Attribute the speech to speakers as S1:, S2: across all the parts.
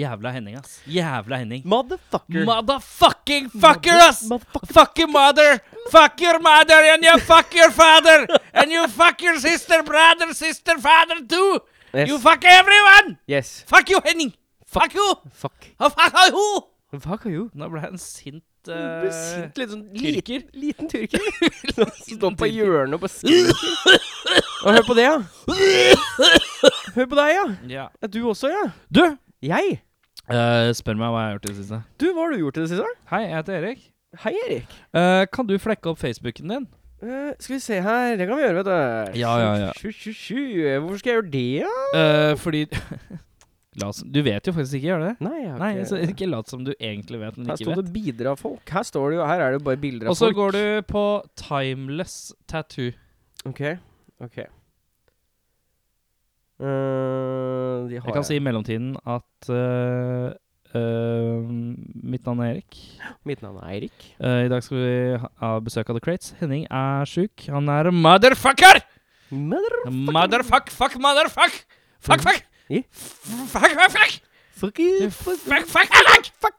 S1: Jævla Henning, ass. Jævla Henning.
S2: Motherfucker.
S1: Motherfucking fucker, ass!
S2: Motherfucker.
S1: Fuck your mother! Fuck your mother, and you fuck your father! And you fuck your sister, brother, sister, father too!
S2: Yes.
S1: You fuck everyone!
S2: Yes.
S1: Fuck you, Henning! Fuck you!
S2: Fuck.
S1: Og fuck you!
S2: Fuck you.
S1: Nå ble han sint. eh,
S2: Du blir sint litt sånn
S1: tyrker.
S2: Liten, Eh, liten tyrker. Som Står på hjørnet og bare skriker. Og hør på det, ja. Hør på deg, ja.
S1: Ja.
S2: ja. Du også, ja.
S1: Du!
S2: Jeg.
S1: eh, spør meg hva jeg har gjort i det siste.
S2: Du, hva har du gjort i det siste?
S1: Hei, jeg heter Erik.
S2: Hei, Erik.
S1: Eh, kan du flekke opp Facebooken din?
S2: Eh, skal vi se her Det kan vi gjøre, vet du.
S1: Ja, ja, ja.
S2: Sju, sju, sju. Hvorfor skal jeg gjøre det, ja?
S1: Eh, fordi La oss Du vet jo faktisk ikke, gjør du det?
S2: Nei, jeg har
S1: Nei, så
S2: ikke
S1: ikke lat som du egentlig vet, men
S2: Her
S1: ikke
S2: står
S1: vet.
S2: det 'bidra folk'. Her står det jo Her er det jo bare bilder av
S1: Og så
S2: folk.
S1: går du på Timeless Tattoo.
S2: OK. OK. Eh, de har
S1: Jeg kan si i mellomtiden at eh, eh, mitt navn er Erik.
S2: Mitt navn er Eirik.
S1: Eh, I dag skal vi ha- ha besøk av The Crates. Henning er sjuk. Han er motherfucker!
S2: Mother
S1: Motherfuck, fuck, motherfuck! Fuck, fuck!
S2: Ja.
S1: F- Fuck, fuck, fuck!
S2: fucking
S1: Fuck, fuck, fuck! fuck.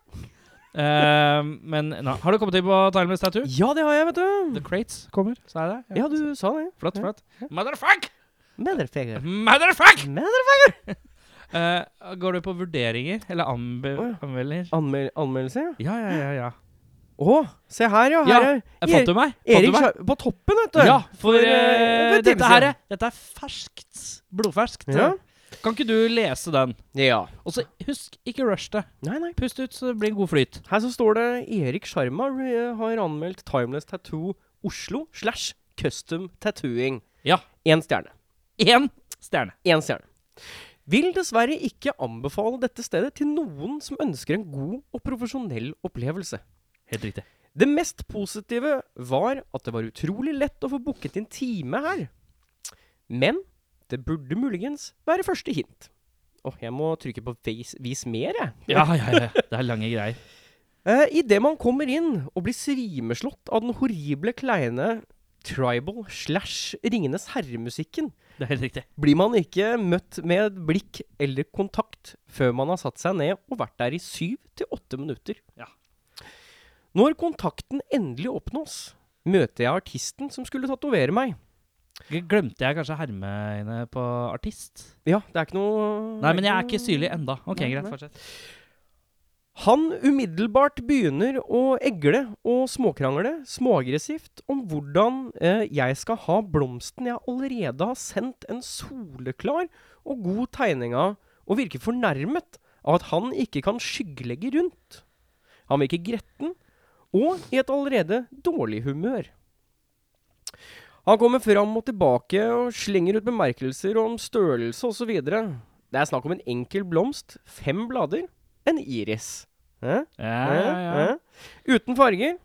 S1: Eh, men nå, har du kommet inn på Timeless Tattoo?
S2: Ja, det har jeg, vet du.
S1: The Crates kommer, sa jeg det?
S2: Ja, du sa det.
S1: Flott,
S2: Ja.
S1: flott. Motherfuck!
S2: Motherfucker.
S1: Motherfuck!
S2: Motherfucker.
S1: Eh, går du på vurderinger? Eller anbe
S2: Å, ja.
S1: anmelder?
S2: Anmel anmeldelse, ja.
S1: Ja, ja, ja. ja.
S2: Å, se her, ja. Her
S1: Ja,
S2: er
S1: Eh, Fant du meg? Fant du
S2: Erik
S1: meg?
S2: Sjar- på toppen, vet du.
S1: Ja, for
S2: For, eh,
S1: eh,
S2: for en time
S1: dette, her,
S2: siden.
S1: er- dette er ferskt. Blodferskt.
S2: Ja.
S1: Kan ikke du lese den?
S2: ja.
S1: Og så husk, ikke rush det.
S2: Nei, nei.
S1: Pust ut, så det blir en god flyt.
S2: Her så står det Erik Sharma eh, har anmeldt Timeless Tattoo Oslo slash Custom Tattooing.
S1: Ja.
S2: Én stjerne.
S1: Én stjerne.
S2: Én stjerne. Vil dessverre ikke anbefale dette stedet til noen som ønsker en god og profesjonell opplevelse.
S1: Helt riktig.
S2: Det mest positive var at det var utrolig lett å få booket en time her. Men det burde muligens være første hint. Åh, jeg må trykke på vis, vis mer, jeg.
S1: Ja, ja, ja. Det er lange greier.
S2: Eh, Idet man kommer inn og blir svimeslått av den horrible kleine tribal slash Ringenes herremusikken,
S1: Det er helt riktig.
S2: blir man ikke møtt med et blikk eller kontakt før man har satt seg ned og vært der i syv til åtte minutter.
S1: Ja.
S2: Når kontakten endelig oppnås, møter jeg artisten som skulle tatovere meg.
S1: G- Glemte jeg kanskje hermeøyne på artist?
S2: Ja, det er ikke noe
S1: Nei, men jeg er ikke syrlig enda. Ok, greit, fortsett.
S2: Han umiddelbart begynner å egle og småkrangle småaggressivt om hvordan eh, jeg skal ha blomsten jeg allerede har sendt en soleklar og god tegning av, og virker fornærmet av at han ikke kan skyggelegge rundt. Han virker gretten og i et allerede dårlig humør. Han kommer fram og tilbake og slenger ut bemerkelser om størrelse osv. Det er snakk om en enkel blomst, fem blader, en iris. Hæ?
S1: Ja, ja, ja.
S2: Hæ? Hæ? Uten farger.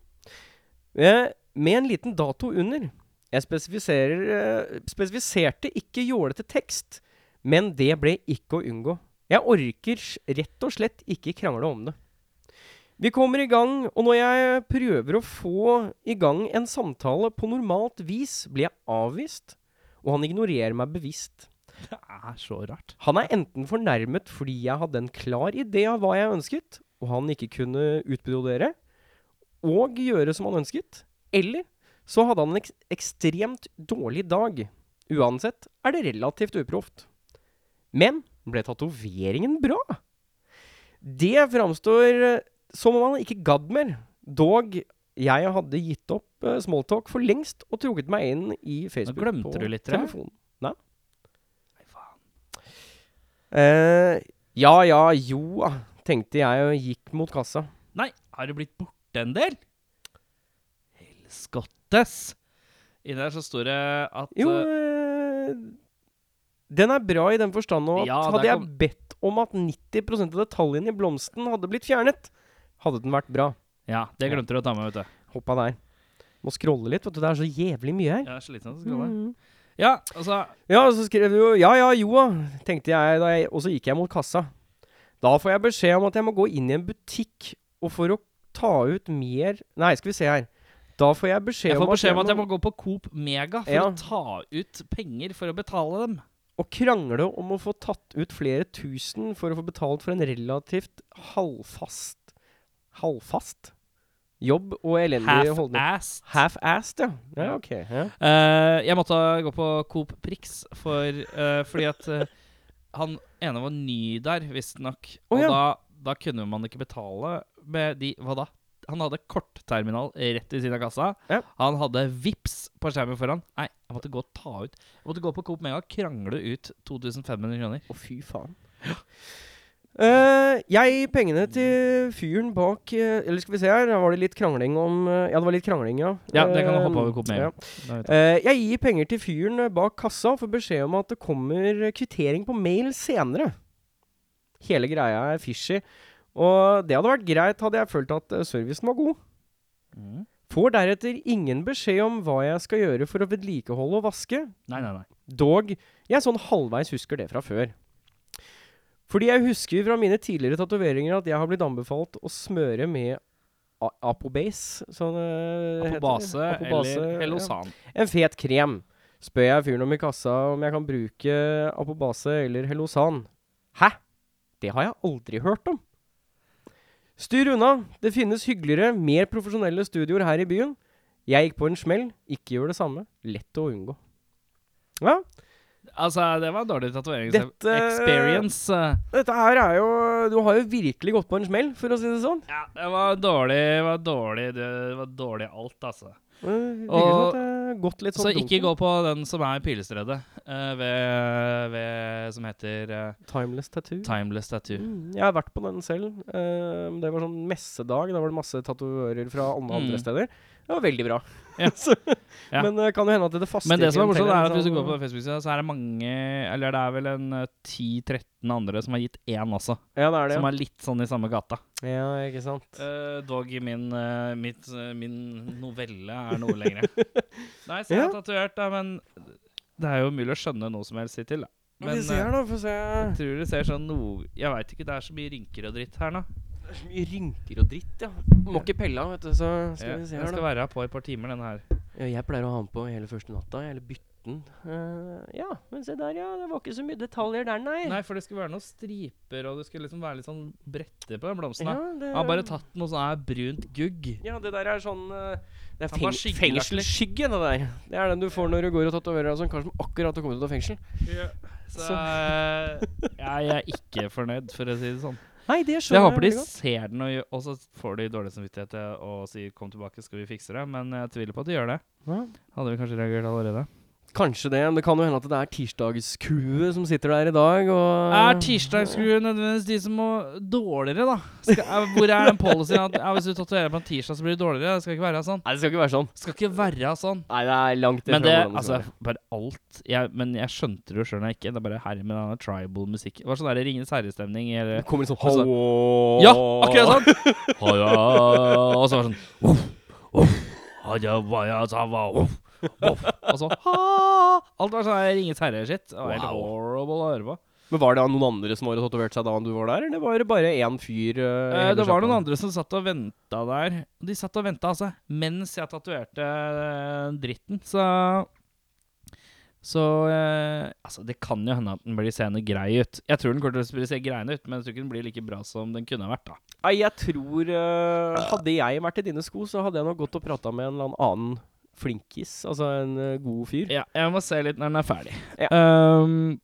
S2: Eh, Med en liten dato under. Jeg spesifiserer, eh, spesifiserte ikke jålete tekst, men det ble ikke å unngå. Jeg orker s- rett og slett ikke krangle om det. Vi kommer i gang, og når jeg prøver å få i gang en samtale på normalt vis, blir jeg avvist, og han ignorerer meg bevisst.
S1: Det er så rart.
S2: Han er enten fornærmet fordi jeg hadde en klar idé av hva jeg ønsket, og han ikke kunne utbrodere og gjøre som han ønsket, eller så hadde han en ek ekstremt dårlig dag. Uansett er det relativt uproft. Men ble tatoveringen bra? Det framstår eh, som om han ikke gadd mer, dog jeg hadde gitt opp eh, smalltalk for lengst og trukket meg inn i Facebook
S1: glemte
S2: på
S1: du litt, tror jeg.
S2: telefonen. Nei.
S1: Nei, faen.
S2: Eh, ja ja, jo da, tenkte jeg og gikk mot kassa.
S1: Nei, har det blitt borte en del? Helskottes! Inni der så står det at
S2: Jo,
S1: eh,
S2: eh, den er bra i den forstand at
S1: Ja, der
S2: hadde jeg
S1: kom-
S2: bedt om at 90 av detaljene i blomsten hadde blitt fjernet, hadde den vært bra.
S1: Ja, det glemte du å ta med, vet du.
S2: Hoppa der. Må scrolle litt, vet du. Det er så jævlig mye her.
S1: Jeg er sliten av å
S2: Ja,
S1: skrolle. Ja, altså
S2: ja og så skrev du jo Ja ja, jo da, tenkte jeg, da jeg, og så gikk jeg mot kassa. Da får jeg beskjed om at jeg må gå inn i en butikk, og for å ta ut mer Nei, skal vi se her. Da får jeg beskjed
S1: Jeg
S2: om
S1: får beskjed om at jeg
S2: må-
S1: må gå på Coop Mega for
S2: Ja.
S1: å ta ut penger for å betale dem.
S2: Å krangle om å få tatt ut flere tusen for å få betalt for en relativt halvfast Halvfast jobb og elendig holdning.
S1: Half-assed.
S2: Half-assed, ja. ja.
S1: Ja.
S2: Ok. Ja.
S1: Eh, jeg måtte gå på Coop Prix for, eh, fordi at eh, han ene var ny der, visstnok.
S2: Å,
S1: Og
S2: ja.
S1: da, da kunne man ikke betale med de Hva da? Han hadde kortterminal rett i siden av kassa.
S2: Ja.
S1: Han hadde vips på skjermen foran. Nei, jeg måtte gå og ta ut Jeg måtte gå på Coop Mega og krangle ut 2500 kroner.
S2: Å, fy faen. Eh, jeg gir pengene til fyren bak eh, Eller skal vi se her, her var det litt krangling om eh, Ja, det var litt krangling, ja.
S1: Ja, det kan du
S2: Eh,
S1: hoppe over Coop Mega.
S2: ja. Eh, jeg gir penger til fyren eh, bak kassa og får beskjed om at det kommer eh, kvittering på mail senere. Hele greia er fishy, og det hadde vært greit hadde jeg følt at eh, servicen var god.
S1: Mm.
S2: Får deretter ingen beskjed om hva jeg skal gjøre for å vedlikeholde og vaske,
S1: Nei, nei, nei.
S2: Dog, jeg sånn halvveis husker det fra før. Fordi jeg husker fra mine tidligere tatoveringer at jeg har blitt anbefalt å smøre med a- apobase. Sånn eh, heter det.
S1: Apobase
S2: Apobase,
S1: eller
S2: ja.
S1: Helosan.
S2: En fet krem. Spør jeg fyren om i kassa om jeg kan bruke apobase eller Helosan. Hæ? Det har jeg aldri hørt om. Styr unna. Det finnes hyggeligere, mer profesjonelle studioer her i byen. Jeg gikk på en smell. Ikke gjør det samme. Lett å unngå. Ja,
S1: Altså, det var en dårlig eh.
S2: Dette-
S1: tatoveringseksperience.
S2: Dette her er jo Du har jo virkelig gått på en smell, for å si det sånn.
S1: Ja, det var dårlig, det var dårlig, det var dårlig alt, altså.
S2: Det virker
S1: Og-
S2: som at det har gått litt sånn
S1: Så ikke
S2: dunken.
S1: gå på den som er pilestredet, eh, ved, ved, som heter eh,
S2: Timeless tattoo.
S1: Timeless Tattoo.
S2: Mm, jeg har vært på den selv. eh, men det var sånn messedag. Da var det masse tatovører fra alle andre
S1: Mm.
S2: steder. Det var veldig bra.
S1: Ja.
S2: Så-
S1: Ja.
S2: Men det kan jo hende at det faste
S1: Men det som er morsomt,
S2: klientellet
S1: er at hvis du
S2: sånn-
S1: går på den Facebook-sida, så er det mange, eller det er vel en eh, 10-13 andre som har gitt én også,
S2: Ja, det er det.
S1: som er litt sånn i samme gata.
S2: ja. ja, ikke sant.
S1: Eh, dog i min, eh, mitt, eh, min novelle er noe lengre. Nei, så jeg
S2: Ja.
S1: har tatovert, da, men det er jo mulig å skjønne noe som helst hittil, da.
S2: vi
S1: eh,
S2: ser, da. Få se.
S1: Jeg tror det ser sånn noe Jeg veit ikke, det er så mye rynker og dritt her nå.
S2: Det er så mye rynker og dritt, ja. Må ikke pelle av, vet du. Så skal
S1: Ja,
S2: vi se
S1: den
S2: her,
S1: skal
S2: da.
S1: være her på et par timer, den her.
S2: Ja, jeg pleier å ha den på hele første natta. Eller bytte den. Eh, ja, men se der, ja. Det var ikke så mye detaljer der,
S1: Nei, for det skulle være noen striper, og det skulle liksom være litt sånn brette på den blomsten. her.
S2: det,
S1: Han har bare tatt noe sånn her brunt gugg.
S2: Ja, det der er sånn eh, Det er
S1: Han var
S2: feng
S1: skyggelagt litt.
S2: fengselsskygge, det der. Det er den du får når du går og tatoverer deg som kar som akkurat har kommet ut av fengsel.
S1: Så eh, jeg er ikke fornøyd, for å si det sånn.
S2: Nei, det
S1: Så jeg håper de
S2: veldig godt.
S1: ser den, og, gjør- og så får de dårlig samvittighet til å si 'kom tilbake, skal vi fikse det', men jeg tviler på at de gjør det.
S2: Ja.
S1: Hadde vi kanskje reagert allerede.
S2: Kanskje det. Men det kan jo hende at det er tirsdagskuet som sitter der i dag, og
S1: Er tirsdagsskruer nødvendigvis de som må dårligere, da? Skal, er, hvor er den policyen at ja, hvis du tatoverer på en tirsdag, så blir du dårligere? Det skal ikke være sånn.
S2: Nei, det skal ikke være sånn.
S1: Skal ikke være sånn.
S2: Nei, det er langt
S1: Men det,
S2: hvordan skal
S1: altså,
S2: være.
S1: bare alt jeg, Men jeg skjønte det jo sjøl når jeg ikke Det er bare herre med denne tribal-musikken. Det var sånn der Ringenes herre-stemning.
S2: Det
S1: eller-
S2: kommer litt sånn
S1: Og så-
S2: «Hallo».
S1: Altså- Ja, akkurat sånn! Ha, ja, Og så var det sånn uff, uff, ha, ja, hva, ja, sa, hva, uff, uff. Og så ha! Alt var sånn der Ringenes herre-shit. Det var helt
S2: Wow.
S1: horrible å høre på.
S2: Men Var det noen andre som var og tatovert seg da du var der, eller var det bare én fyr? eh,
S1: Eh,
S2: hele
S1: det var
S2: sjappa?
S1: noen andre som satt og venta der. De satt og venta, altså, mens jeg tatoverte eh, dritten, så Så eh, Altså, det kan jo hende at den blir seende grei ut. Jeg tror den kommer til å se greiende ut, men jeg tror ikke den blir like bra som den kunne ha vært, da.
S2: Nei, jeg tror eh, Hadde jeg vært i dine sko, så hadde jeg nok gått og prata med en eller annen annen flinkis. Altså en eh, god fyr.
S1: Ja, jeg må se litt når den er ferdig.
S2: Ja.
S1: Um,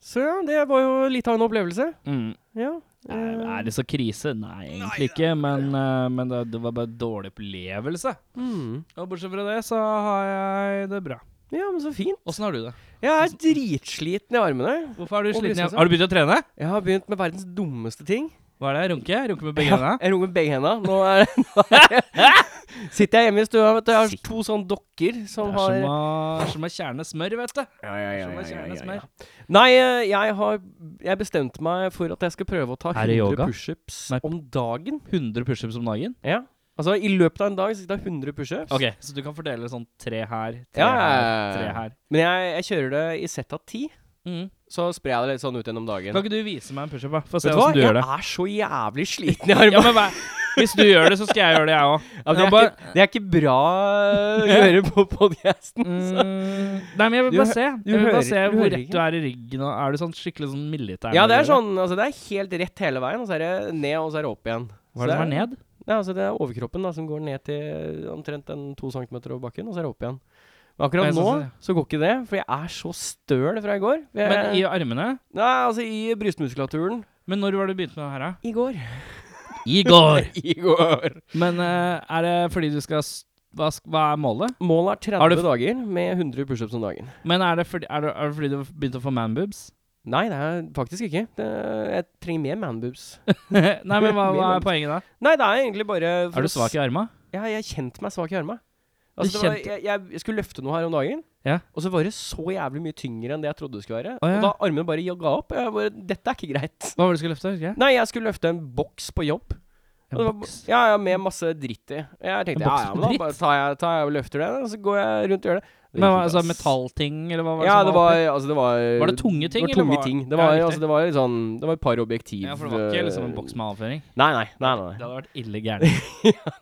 S2: Så ja, det var jo litt av en opplevelse.
S1: mm.
S2: Ja.
S1: Nei, Er det så krise? Nei, egentlig ikke. Men, eh, men det, det var bare dårlig opplevelse.
S2: Mm.
S1: Og bortsett fra det, så har jeg det bra.
S2: Ja, men så fint.
S1: Åssen har du det?
S2: Jeg er dritsliten i armene.
S1: Hvorfor er du
S2: Og
S1: sliten?
S2: brystet seg.
S1: Har du begynt å trene?
S2: Jeg har begynt med verdens dummeste ting.
S1: Hva er det? Runke? Runke med begge hendene?
S2: Jeg roer med begge henda. Nå er nå er jeg- Sitter jeg hjemme i stua, vet du. Jeg har to sånne dokker som
S1: Det
S2: har
S1: er som å, som å kjerne smør, vet du.
S2: Ja, ja, ja,
S1: Som å
S2: ja, ja,
S1: kjerne
S2: ja, ja.
S1: smør.
S2: Nei, eh, jeg har Jeg bestemte meg for at jeg skal prøve å ta
S1: Er det
S2: 100
S1: yoga?
S2: pushups
S1: Nei.
S2: om dagen.
S1: 100 pushups om dagen?
S2: Ja. Altså, i løpet av en dag så skal jeg ta 100 pushups.
S1: Ok, Så du kan fordele sånn tre her, tre
S2: Ja, ja,
S1: her,
S2: ja,
S1: tre
S2: ja.
S1: her.
S2: Men jeg, jeg kjører det i sett av ti.
S1: Mm.
S2: Så sprer jeg det litt sånn ut gjennom dagen.
S1: Kan ikke du vise meg en pushup, da? Få se
S2: Vet du hva?
S1: hvordan du
S2: jeg
S1: gjør det.
S2: er så jævlig sliten i
S1: Ja,
S2: armen.
S1: men hva, Hvis du gjør det, så skal jeg gjøre det, jeg òg.
S2: Ja, det, er
S1: bare-
S2: ikke, det er ikke bra eh, å høre på podcasten så.
S1: Mm. Nei, men jeg vil
S2: Du
S1: bare
S2: hø-
S1: se.
S2: du
S1: Jeg vil
S2: hører-
S1: bare se
S2: du
S1: hvor
S2: hører
S1: rett
S2: ikke.
S1: du er i ryggen. Og er du sånn skikkelig sånn militær?
S2: Ja, det er sånn altså, Det er helt rett hele veien, og så er det ned, og så er det opp igjen.
S1: Hva er det
S2: Så
S1: som er ned?
S2: Nei, altså det er overkroppen da, som går ned til omtrent en to centimeter over bakken, og så er det opp igjen. Men
S1: Nei,
S2: akkurat
S1: sånn
S2: nå
S1: som det.
S2: så går ikke det, for jeg er så støl fra i går. Jeg,
S1: Men i armene?
S2: Nei, altså i brystmuskulaturen.
S1: Men når var det du begynte med det her, da?
S2: I går.
S1: I går.
S2: I går.
S1: Men eh, er det fordi du skal s- hva, sk- hva er målet?
S2: Målet er 30
S1: Har du f-
S2: dager med 100 pushups om dagen.
S1: Men er det fordi, er det, er det fordi du begynte å få manboobs?
S2: Nei, det er faktisk ikke. Det, jeg trenger mer manboobs.
S1: Nei, men hva, hva er
S2: Manboobs.
S1: poenget da?
S2: Nei, det er egentlig bare
S1: Er du svak i arma?
S2: Ja, jeg kjente meg svak i armene.
S1: Du
S2: Altså, det var,
S1: kjente-
S2: jeg, jeg skulle løfte noe her om dagen,
S1: Ja.
S2: og så var det så jævlig mye tyngre enn det jeg trodde det skulle være.
S1: Å, ja.
S2: Og da armene bare jogga opp. og Jeg bare, Dette er ikke greit.
S1: Hva var det du skulle løfte? husker jeg?
S2: Nei, jeg skulle løfte en boks på jobb.
S1: En
S2: Og det var-
S1: boks?
S2: Ja, ja, Med masse dritt i. Jeg
S1: En
S2: tenkte ja,
S1: boks
S2: ja,
S1: med
S2: men da
S1: dritt?
S2: bare tar jeg, tar jeg og løfter det, og så går jeg rundt og gjør det.
S1: Men hva,
S2: gikk ikke,
S1: altså
S2: ass.
S1: metallting, eller hva var det
S2: Ja,
S1: som
S2: det
S1: var
S2: var
S1: oppi?
S2: altså det var
S1: Var det tunge ting,
S2: Det
S1: eller
S2: var tunge
S1: var-
S2: ting. Det
S1: Ja,
S2: var,
S1: riktig.
S2: altså, det var litt sånn Det var et par objektiv
S1: Ja, for det var ikke liksom en
S2: eh,
S1: boks med avføring?
S2: Nei, nei. nei,
S1: Det
S2: nei, nei.
S1: hadde vært ille gærent.
S2: Det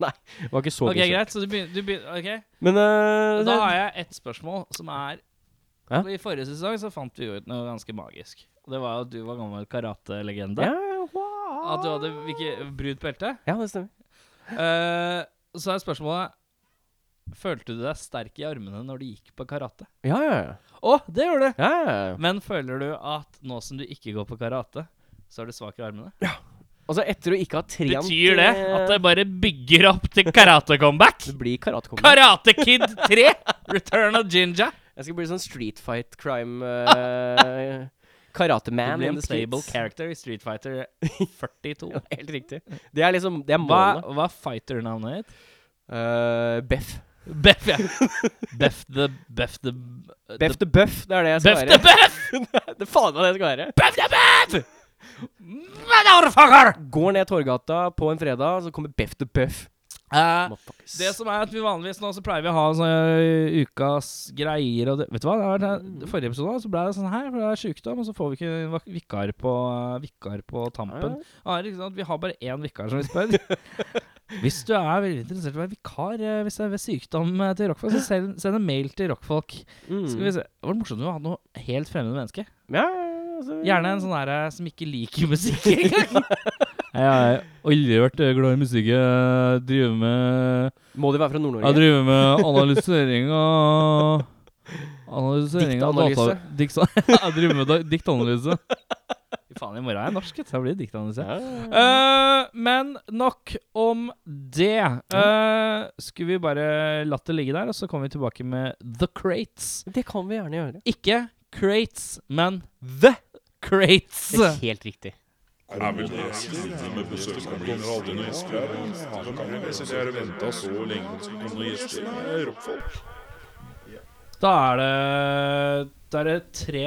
S2: var ikke så
S1: Ok,
S2: grisete.
S1: greit, så du begynner, du begynner Ok,
S2: Men eh,
S1: da har jeg et spørsmål som er
S2: Ja?
S1: I forrige sesong så fant vi jo ut noe ganske magisk. Og Det var jo at du var gammel karatelegende.
S2: ja,
S1: At du hadde hvilke, brunt belte.
S2: Ja, det stemmer.
S1: Eh, så er spørsmålet Følte du deg sterk i armene når du gikk på karate?
S2: Ja, ja, ja.
S1: Å, det gjorde du!
S2: Ja, ja, ja.
S1: Men føler du at nå som du ikke går på karate, så er du svak i armene?
S2: Altså, etter å ikke ha trent
S1: Betyr det
S2: eh,
S1: at det bare bygger opp til karate-comeback?
S2: det blir karatekombo?
S1: Karate Kid 3! Return of Jinja.
S2: Jeg skal bli sånn street fight crime uh,
S1: Du
S2: Karateman
S1: blir
S2: in
S1: en
S2: the
S1: playable
S2: streets.
S1: character i Street Fighter 42.
S2: Ja, Helt riktig. Det er liksom Det er
S1: Hva,
S2: målet.
S1: hva er fighter-navnet ditt?
S2: Eh, Beff.
S1: Beff, ja. Beff the Beff the
S2: Beff the Buff, det er det jeg skal
S1: Beff the
S2: være.
S1: Beff!
S2: det er faen meg det jeg skal være.
S1: Beff the Beff! Motherfucker!
S2: Går ned Torgata på en fredag, så kommer Beff the Buff.
S1: Eh,
S2: Motherfuckers.
S1: Det som er at vi vanligvis nå så pleier vi å ha sånne eh, ukas greier og det, Vet du hva? Det har vært, her- forrige episode da, så ble det sånn her, for det er sykdom, og så får vi ikke en vak- vikar på, eh, vikar på tampen. Ja, det er ikke sant? Vi har bare én vikar som vi spør. Hvis du er veldig interessert i å være vikar eh, hvis det er ved sykdom eh, til rockfolk, så send, send en mail til rockfolk.
S2: Mm.
S1: Skal vi se. Det var morsomt å ha noe helt fremmed menneske.
S2: Ja, altså,
S1: Gjerne en sånn der eh, som ikke liker musikk engang. Jeg har aldri vært glad i musikk. Jeg driver med
S2: Må de være fra Nord-Norge?
S1: jeg driver med analysering av Analysering av
S2: Diktanalyse.
S1: data... Dikta, jeg driver med da- diktanalyse. Fy Faen, i morgen er jeg norsk, vet du, så jeg blir diktanalyse.
S2: Ja.
S1: Eh, men nok om det. Eh, skulle vi bare latt det ligge der, og så kommer vi tilbake med The Crates.
S2: Det kan vi gjerne gjøre.
S1: Ikke Crates, men The Crates.
S2: helt riktig.
S1: Da er det Da er det tre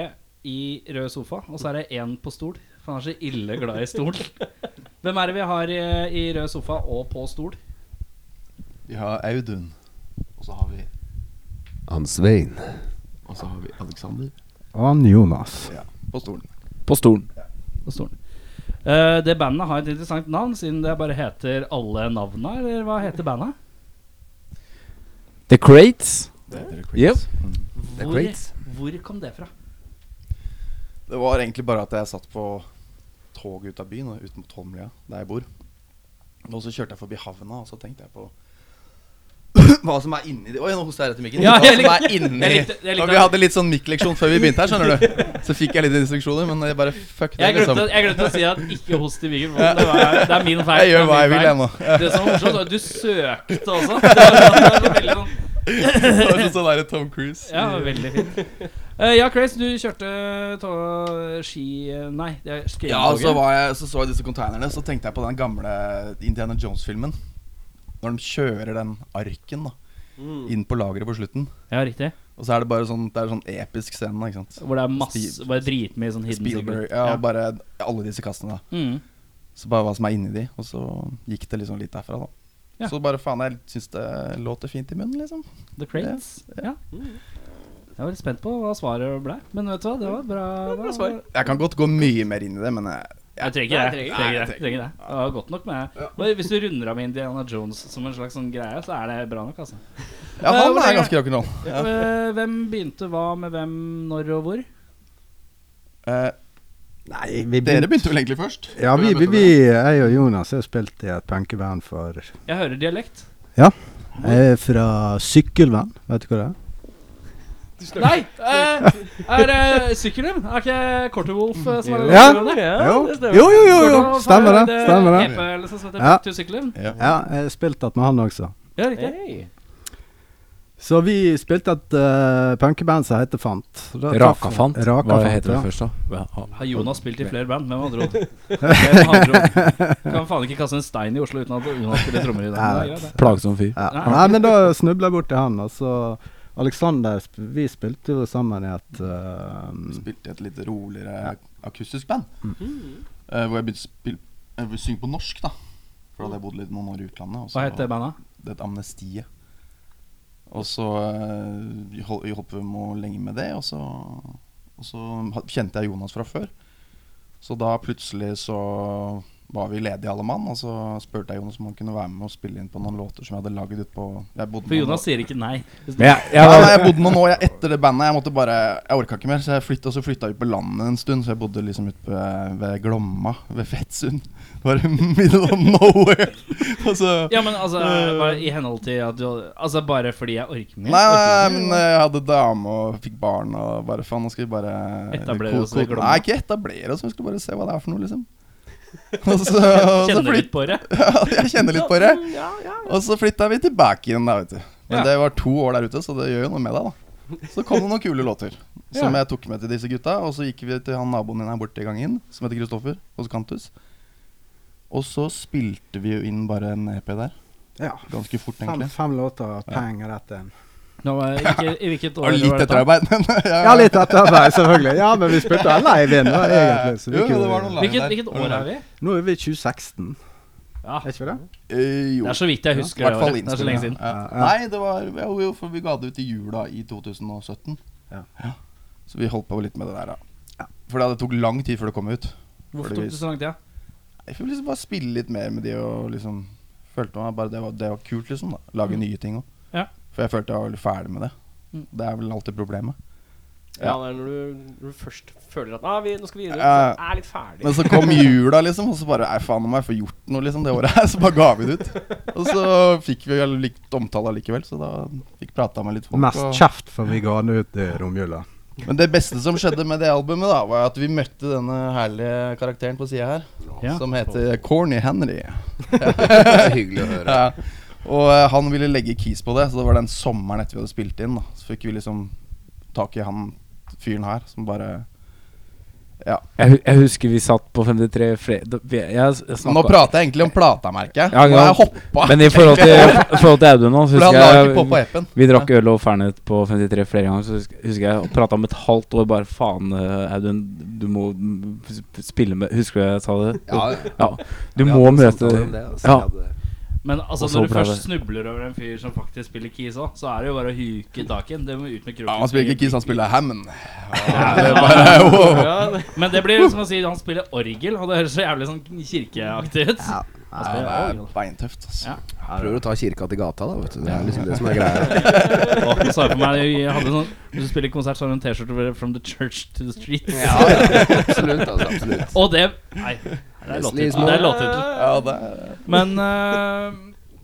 S1: i rød sofa, og så er det én på stol. For han er så ille glad i stol. Hvem er det vi har eh, i, i rød sofa og på stol?
S3: Vi har Audun. Og så har vi
S4: Han Svein.
S3: Og så har vi Alexander.
S5: Og han Jonas.
S3: Ja, på stolen.
S4: På stolen.
S1: På stolen. Eh, det bandet har et interessant navn, siden det bare heter alle navna, eller hva heter bandet?
S4: The Crates.
S3: Det heter det
S4: Yep.
S3: Creeps. Mm.
S4: The
S1: Hvor,
S4: Crates.
S1: hvor kom det fra?
S3: Det var egentlig bare at jeg satt på toget ut av byen, og ut mot Holmlia, der jeg bor. Og så kjørte jeg forbi havna, og så tenkte jeg på hva som er inni de Oi, nå hosta jeg rett i mikken.
S1: Ja,
S3: hva
S1: jeg
S3: som er inni
S1: jeg likte- jeg likte-
S3: For Vi hadde litt sånn mikkleksjon før vi begynte her, skjønner du. Så fikk jeg litt instruksjoner, men jeg bare fuck det,
S1: Jeg glemte,
S3: liksom.
S1: jeg glemte å si at ikke host i mikrofonen. Det, var- det er min feil.
S3: Jeg
S1: det
S3: gjør
S1: er
S3: hva
S1: min
S3: jeg vil,
S1: feil.
S3: jeg nå.
S1: Det som var morsomt, var at du søkte også. Det var, sånn- det var veldig sånn
S3: Sånn sånn der Tom Cruise.
S1: Ja, veldig fint. Eh, ja, Chris, du kjørte tå- ski... eh, Nei, det er skrevet.
S3: Ja, altså, og så, var jeg, så så jeg disse containerne, så tenkte jeg på den gamle Indiana Jones-filmen. Når de kjører den arken da inn på lageret på slutten.
S1: Ja, riktig.
S3: Og så er det bare sånn, det er sånn episk scene, da, ikke sant.
S1: Hvor det er masse
S3: Steve-
S1: Bare dritmye sånn hidden
S3: Spielberg,
S1: secret.
S3: ja, og bare alle disse kassene. da
S1: Mm.
S3: Så bare hva som er inni de. Og så gikk det liksom litt derfra, da.
S1: Ja.
S3: Så bare faen, jeg syns det låter fint i munnen, liksom.
S1: The Crates. Ja. Jeg var litt spent på hva svaret ble, men vet du hva, det var bra.
S2: bra svar.
S3: Jeg kan godt gå mye mer inn i det, men jeg,
S1: Jeg trenger ikke det.
S3: Nei,
S1: Trenger
S3: jeg
S1: ikke
S3: trenger
S1: det. Trenger det. det var godt nok med det. Og Hvis du runder av med Indiana Jones som en slags sånn greie, så er det bra nok, altså. Eh,
S3: Ja, han
S1: hvor lenge-
S3: er ganske rock'n'roll. Ja.
S1: Eh, Hvem begynte hva med hvem, når og hvor?
S3: Eh,
S5: Nei, vi
S3: dere begynte vel egentlig først?
S5: Ja, vi, vi, vi, jeg og Jonas har spilt i et punkeband for
S1: Jeg hører dialekt.
S5: Jeg er fra Sykkelvenn, vet du hva det er?
S1: Nei! eh, er det sykkelen? Er ikke Kortewolf eh, som er
S5: Ja.
S1: det?
S5: Jo. Jo, jo, jo, jo. Stemmer det, stemmer det.
S1: EP, liksom, som heter
S5: Ja.
S1: Back to Sykkelen.
S3: Ja.
S5: Ja, jeg har spilt det med han også.
S1: Ja, riktig.
S5: Så vi spilte et uh, punkeband som heter Fant. Da traff-
S4: Rakafant. Hva
S5: Rakafant,
S4: heter det
S5: ja.
S4: først, da? Ja,
S1: Har Jonas spilt i flere band? Hvem hadde trodd? Hvem hadde trodd? Kan faen ikke kaste en stein i Oslo uten at Jonas spiller trommer i det. Men det er greit, det.
S4: Plagsom fyr.
S5: Ja.
S1: Nei.
S5: Nei, men da snubla jeg bort til han, og så Alexander sp- Vi spilte jo sammen i et eh,
S3: Spilte i et litt roligere akustisk band.
S1: Mm.
S3: Eh, hvor jeg begynte å spille Jeg begynte å synge på norsk, da. For da hadde jeg bodd litt noen år i utlandet. og så-
S1: Hva heter bandet?
S3: det het Amnestiet. Og så eh, hol- vi holdt vi med lenge med det, og så, og så ha- kjente jeg Jonas fra før. Så da plutselig så var vi ledige alle mann, og så spurte jeg Jonas om han kunne være med og spille inn på noen låter som jeg hadde lagd utpå jeg bodde
S1: For
S3: noen
S1: Jonas
S3: år-
S1: sier ikke nei.
S4: Men jeg,
S3: ja,
S4: jeg,
S3: jeg bodde noen år jeg, etter det bandet. Jeg måtte bare, jeg orka ikke mer, så jeg flytta, og så flytta jeg ut på landet en stund. Så jeg bodde liksom ute på- ved Glomma, ved Fettsund. Bare middle of nowhere. Og så
S1: Ja, men altså bare I henhold til at du Altså bare fordi jeg orker mer.
S3: Nei, nei,
S1: orker
S3: nei,
S1: mer.
S3: men eh, jeg hadde dame og fikk barn og bare faen, nå skal vi bare
S1: Etablere
S3: ko-
S1: oss ved
S3: ko-
S1: Glomma.
S3: Nei, ikke etablere oss, vi skal bare se hva det er for noe, liksom. Og så, og
S5: altså,
S3: så
S1: Kjenner
S3: flyt,
S1: litt på det.
S3: jeg kjenner litt på det. Og så flytta vi tilbake igjen, da, vet du. Men
S1: Ja.
S3: det var to år der ute, så det gjør jo noe med deg, da. Så kom det noen kule låter som jeg tok med til disse gutta. Og så gikk vi til han naboen din her borte i gangen, som heter Kristoffer, hos Kantus. Og så spilte vi jo inn bare en EP der.
S5: Ja.
S3: Ganske fort,
S5: Fem,
S3: egentlig.
S5: fem låter, peng rett inn.
S1: Nå, var jeg ikke, I hvilket
S3: Det
S1: år
S3: var
S1: var
S3: litt
S1: dette?
S3: etterarbeid, men
S5: Ja, litt etterarbeid, selvfølgelig. Ja, men vi spilte live inn, da, egentlig. Så vi
S3: Jo, jo,
S5: kunne-
S3: det var noen live.
S1: Hvilket,
S3: der.
S1: hvilket år er vi?
S5: Nå er vi i 2016,
S1: Ja,
S5: er ikke vi det?
S3: Eh, jo.
S1: Det er så vidt jeg husker det
S3: Hvertfall
S1: året. Det er så lenge siden.
S3: innspilling, ja.
S5: Ja, ja.
S3: Nei, det var ja, jo, for vi ga det ut i jula i 2017.
S5: Ja.
S3: Så vi holdt på litt med det der, da. For det tok lang tid før det kom ut.
S1: Hvorfor tok det så lang tid? ja?
S3: Jeg fikk liksom bare spille litt mer med de og liksom Følte meg bare det var, det var kult, liksom. da Lage nye ting òg.
S1: Ja.
S3: For jeg følte jeg var veldig ferdig med det. Det er vel alltid problemet.
S2: Ja, det er når du, når du først føler at ah, vi, 'Nå skal vi videre',
S3: Ja.
S2: så er jeg litt ferdig.
S3: Men så kom jula, liksom, og så bare Nei, faen, nå må jeg få gjort noe, liksom, det året her. Så bare ga vi det ut. Og så fikk vi vel litt omtale allikevel, så da fikk prata med litt folk.
S5: Mest
S3: og-
S5: kjeft for vi ga den ut i romjula.
S3: Men det beste som skjedde med det albumet, da var at vi møtte denne herlige karakteren på sida her,
S1: Ja.
S3: som heter Corny Henry.
S4: hyggelig å høre.
S3: Ja. Og eh, han ville legge keys på det, så det var den sommeren etter vi hadde spilt inn. da Så fikk vi liksom tak i han fyren her som bare
S4: Jeg, hu- jeg husker vi satt på 53 fle- da- vi- jeg, s- jeg
S3: Nå
S4: snakket-
S3: prater jeg egentlig om plata, merker jeg.
S4: Ja,
S3: Nå har jeg
S4: ja.
S3: hoppa.
S4: Men i forhold til, i forhold til Audun nå, så
S3: For han la ikke på
S4: husker
S3: på
S4: jeg
S3: appen.
S4: Vi drakk øl og fernet på 53 flere ganger, så husker husker jeg og prata om et halvt år bare Faen, eh, Audun, du må mm, sp- spille med Husker du jeg sa det? Ja. Du må møte Ja.
S1: Men altså,
S4: Og så
S1: når du
S4: ble
S1: først
S4: det-
S1: snubler over en fyr som faktisk spiller keys òg, så er det jo bare å huke tak i den. Det må ut med kroken.
S3: Ja, han spiller ikke keys, han spiller Hammond.
S2: Ja, det-
S1: Men det blir som å si han spiller orgel, og det høres så jævlig sånn kirkeaktig ut. Han
S3: Det
S1: spiller
S3: er
S1: orgel.
S3: beintøft. Altså.
S1: Ja.
S6: Prøver å ta kirka til gata, da. vet du Det er liksom det som er greia.
S1: Og så sa jeg på meg jeg hadde sånn, Hvis du spiller konsert, så har du en T-skjorte med 'From the church to the streets'.
S6: Absolutt. altså, absolutt
S1: Og det Nei, det er
S6: Leslie
S1: låttittel.
S6: Small.
S1: Det er låttittel.
S3: Ja, det er
S1: Men eh,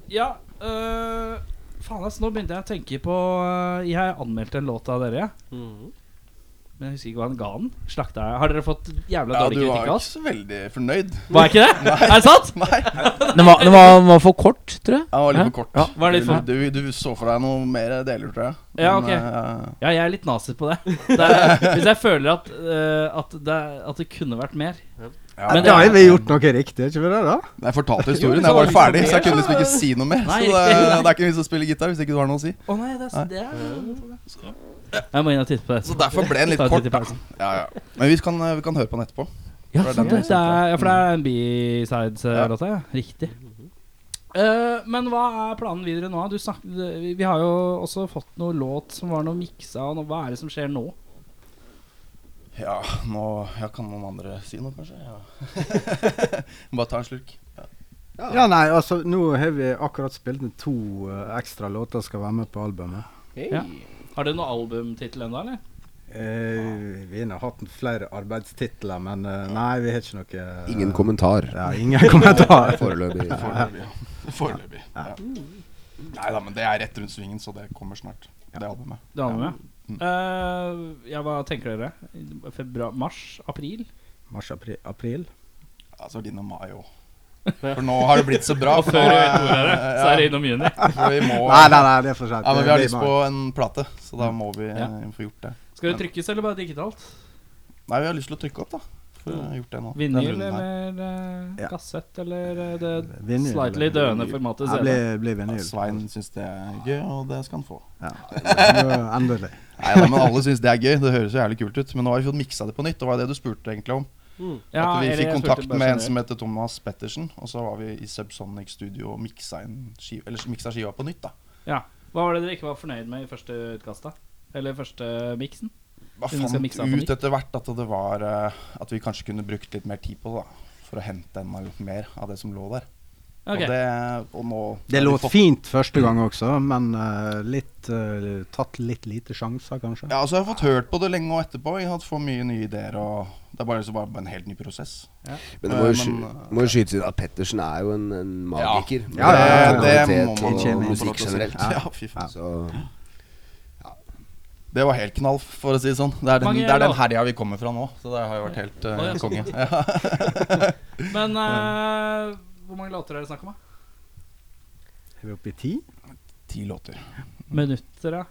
S1: ja eh, Faen, ass, nå begynte jeg å tenke på eh, Jeg anmeldte en låt av dere. Mm-hmm. Men jeg husker ikke hva han ga den. Slakta jeg. Har dere fått jævla
S3: Ja,
S1: dårlig
S3: du
S1: kritikk
S3: var
S1: av
S3: ikke
S1: oss?
S3: så veldig fornøyd.
S1: Var jeg ikke det? Er det sant?
S3: Nei.
S4: Den var, den var, den var for kort, tror jeg.
S3: Ja, det
S4: Hæ?
S3: var litt for kort.
S4: Ja,
S1: var litt for-
S3: du, du, du så for deg noe mer deler, tror jeg.
S1: Ja, ok.
S3: eh,
S1: Ja, jeg er litt nazi på det. det er, hvis jeg føler at, eh, at, det, at det kunne vært mer.
S3: ja,
S1: Men
S3: det,
S5: Da har vi gjort noe riktig, ikke vi det? da?
S3: jeg fortalte historien. Jeg var ferdig, så jeg kunne liksom ikke si noe mer.
S1: Nei,
S3: så det,
S1: riktig.
S3: det er ikke noe vits å spille gitar hvis ikke du har noe å si.
S1: Å nei, det, er- det er Jeg må inn og titte på det.
S3: Så derfor ble den litt
S1: Ta en titt
S3: kort.
S1: i
S3: Da.
S1: pausen.
S3: Ja, ja. Men vi kan, eh, vi kan høre på den etterpå.
S1: Ja,
S3: For det er
S1: sant
S3: den
S1: det. Det er, ja, for det er en
S3: Ja.
S1: B-sides-låta, ja. Mhm. Riktig. Eh, men hva er planen videre nå? Du snak, vi vi har jo også fått noe låt som var noe miksa. Og noe, hva er det som skjer nå?
S3: Ja, nå ja, Kan noen andre si noe, kanskje? Ja. Bare ta en slurk.
S5: Ja, nei, altså, nå har vi akkurat spilt med to eh, ekstra låter som skal være med på albumet.
S1: Ja. Har dere noen albumtittel ennå, eller?
S5: Eh, vi har hatt flere arbeidstitler, men eh, nei, vi har ikke noe eh,
S6: Ingen kommentar
S5: Ja, ingen kommentar.
S6: foreløpig.
S3: Foreløpig. ja. Foreløpig. Ja. Nei da, men det er rett rundt svingen, så det kommer snart. Det albumet.
S1: Det andre med? Eh, ja, hva tenker dere? Februar, mars? April?
S5: Mars-april.
S3: Altså din og mai òg. For nå har det blitt så bra.
S1: Og før
S3: for nå
S1: du
S3: er-
S1: vet ordet av det, så er det innom juni.
S3: Ja, for vi må,
S5: Nei, nei, nei, det er for seint.
S3: Ja, men vi har
S5: Det
S3: lyst
S5: blir
S3: på
S5: mai.
S3: en plate, så da må vi eh, få gjort det.
S1: Skal det trykkes eller bare digitalt?
S3: Nei, vi har lyst til å trykke opp, da. For å ha gjort det nå. denne
S1: Vinyl
S3: runden her.
S1: eller eh,
S5: Ja.
S1: kassett eller eh, det
S5: Vinyl,
S1: slightly
S5: eller-
S1: døende formatet
S5: Ja,
S1: CD?
S5: blir, blir vinyl.
S3: Svein syns det er gøy, og det skal han få.
S5: Ja. Nå, Endelig.
S3: Nei, da, men alle syns det er gøy. Det høres jo jævlig kult ut. Men nå har vi fått miksa det på nytt, og det var det du spurte egentlig om.
S1: Mm. Ja,
S3: at
S1: eller
S3: vi fikk
S1: jeg spurte bare
S3: kontakt med en
S1: generelt.
S3: som heter Thomas Pettersen, og så var vi i Subsonic Studio og miksa, en skiv, eller miksa skiva på nytt, da.
S1: Ja. Hva var det dere ikke var fornøyd med i første utkast, da? Eller første miksen?
S3: Hva
S1: Vi skal
S3: fant
S1: mikse den på nytt.
S3: ut etter hvert at det var eh, At vi kanskje kunne brukt litt mer tid på det, da. For å hente enda litt mer av det som lå der.
S1: Ok,
S3: Og, det, og nå
S5: Det
S3: har vi
S5: låt
S3: fått-
S5: fint første gang også, men eh, litt eh, tatt litt lite sjanser, kanskje.
S3: Ja, altså Jeg har fått hørt på det lenge og etterpå. Jeg har fått mye nye ideer. og Det er bare, så bare en helt ny prosess.
S6: Men det må jo,
S3: Eh,
S6: sky,
S3: men,
S6: må jo skytes inn at Pettersen er jo en, en magiker.
S5: Ja, ja,
S6: Med
S5: ja, ja.
S6: kvalitet
S5: må man-
S6: og
S5: må man få lov
S3: til
S6: musikk
S3: å si.
S6: generelt.
S3: Ja, fy faen.
S6: Så
S3: Det var helt knall, for å si det sånn. Det er den,
S1: Mange
S3: det er den
S1: låter.
S3: herja vi kommer fra nå. Så det har jo vært helt eh,
S1: Å, ja.
S3: konge. Ja.
S1: Men eh, hvor mange låter er det snakk om? da?
S5: Er vi oppe i ti?
S3: Ti låter.
S1: Minutter, ja.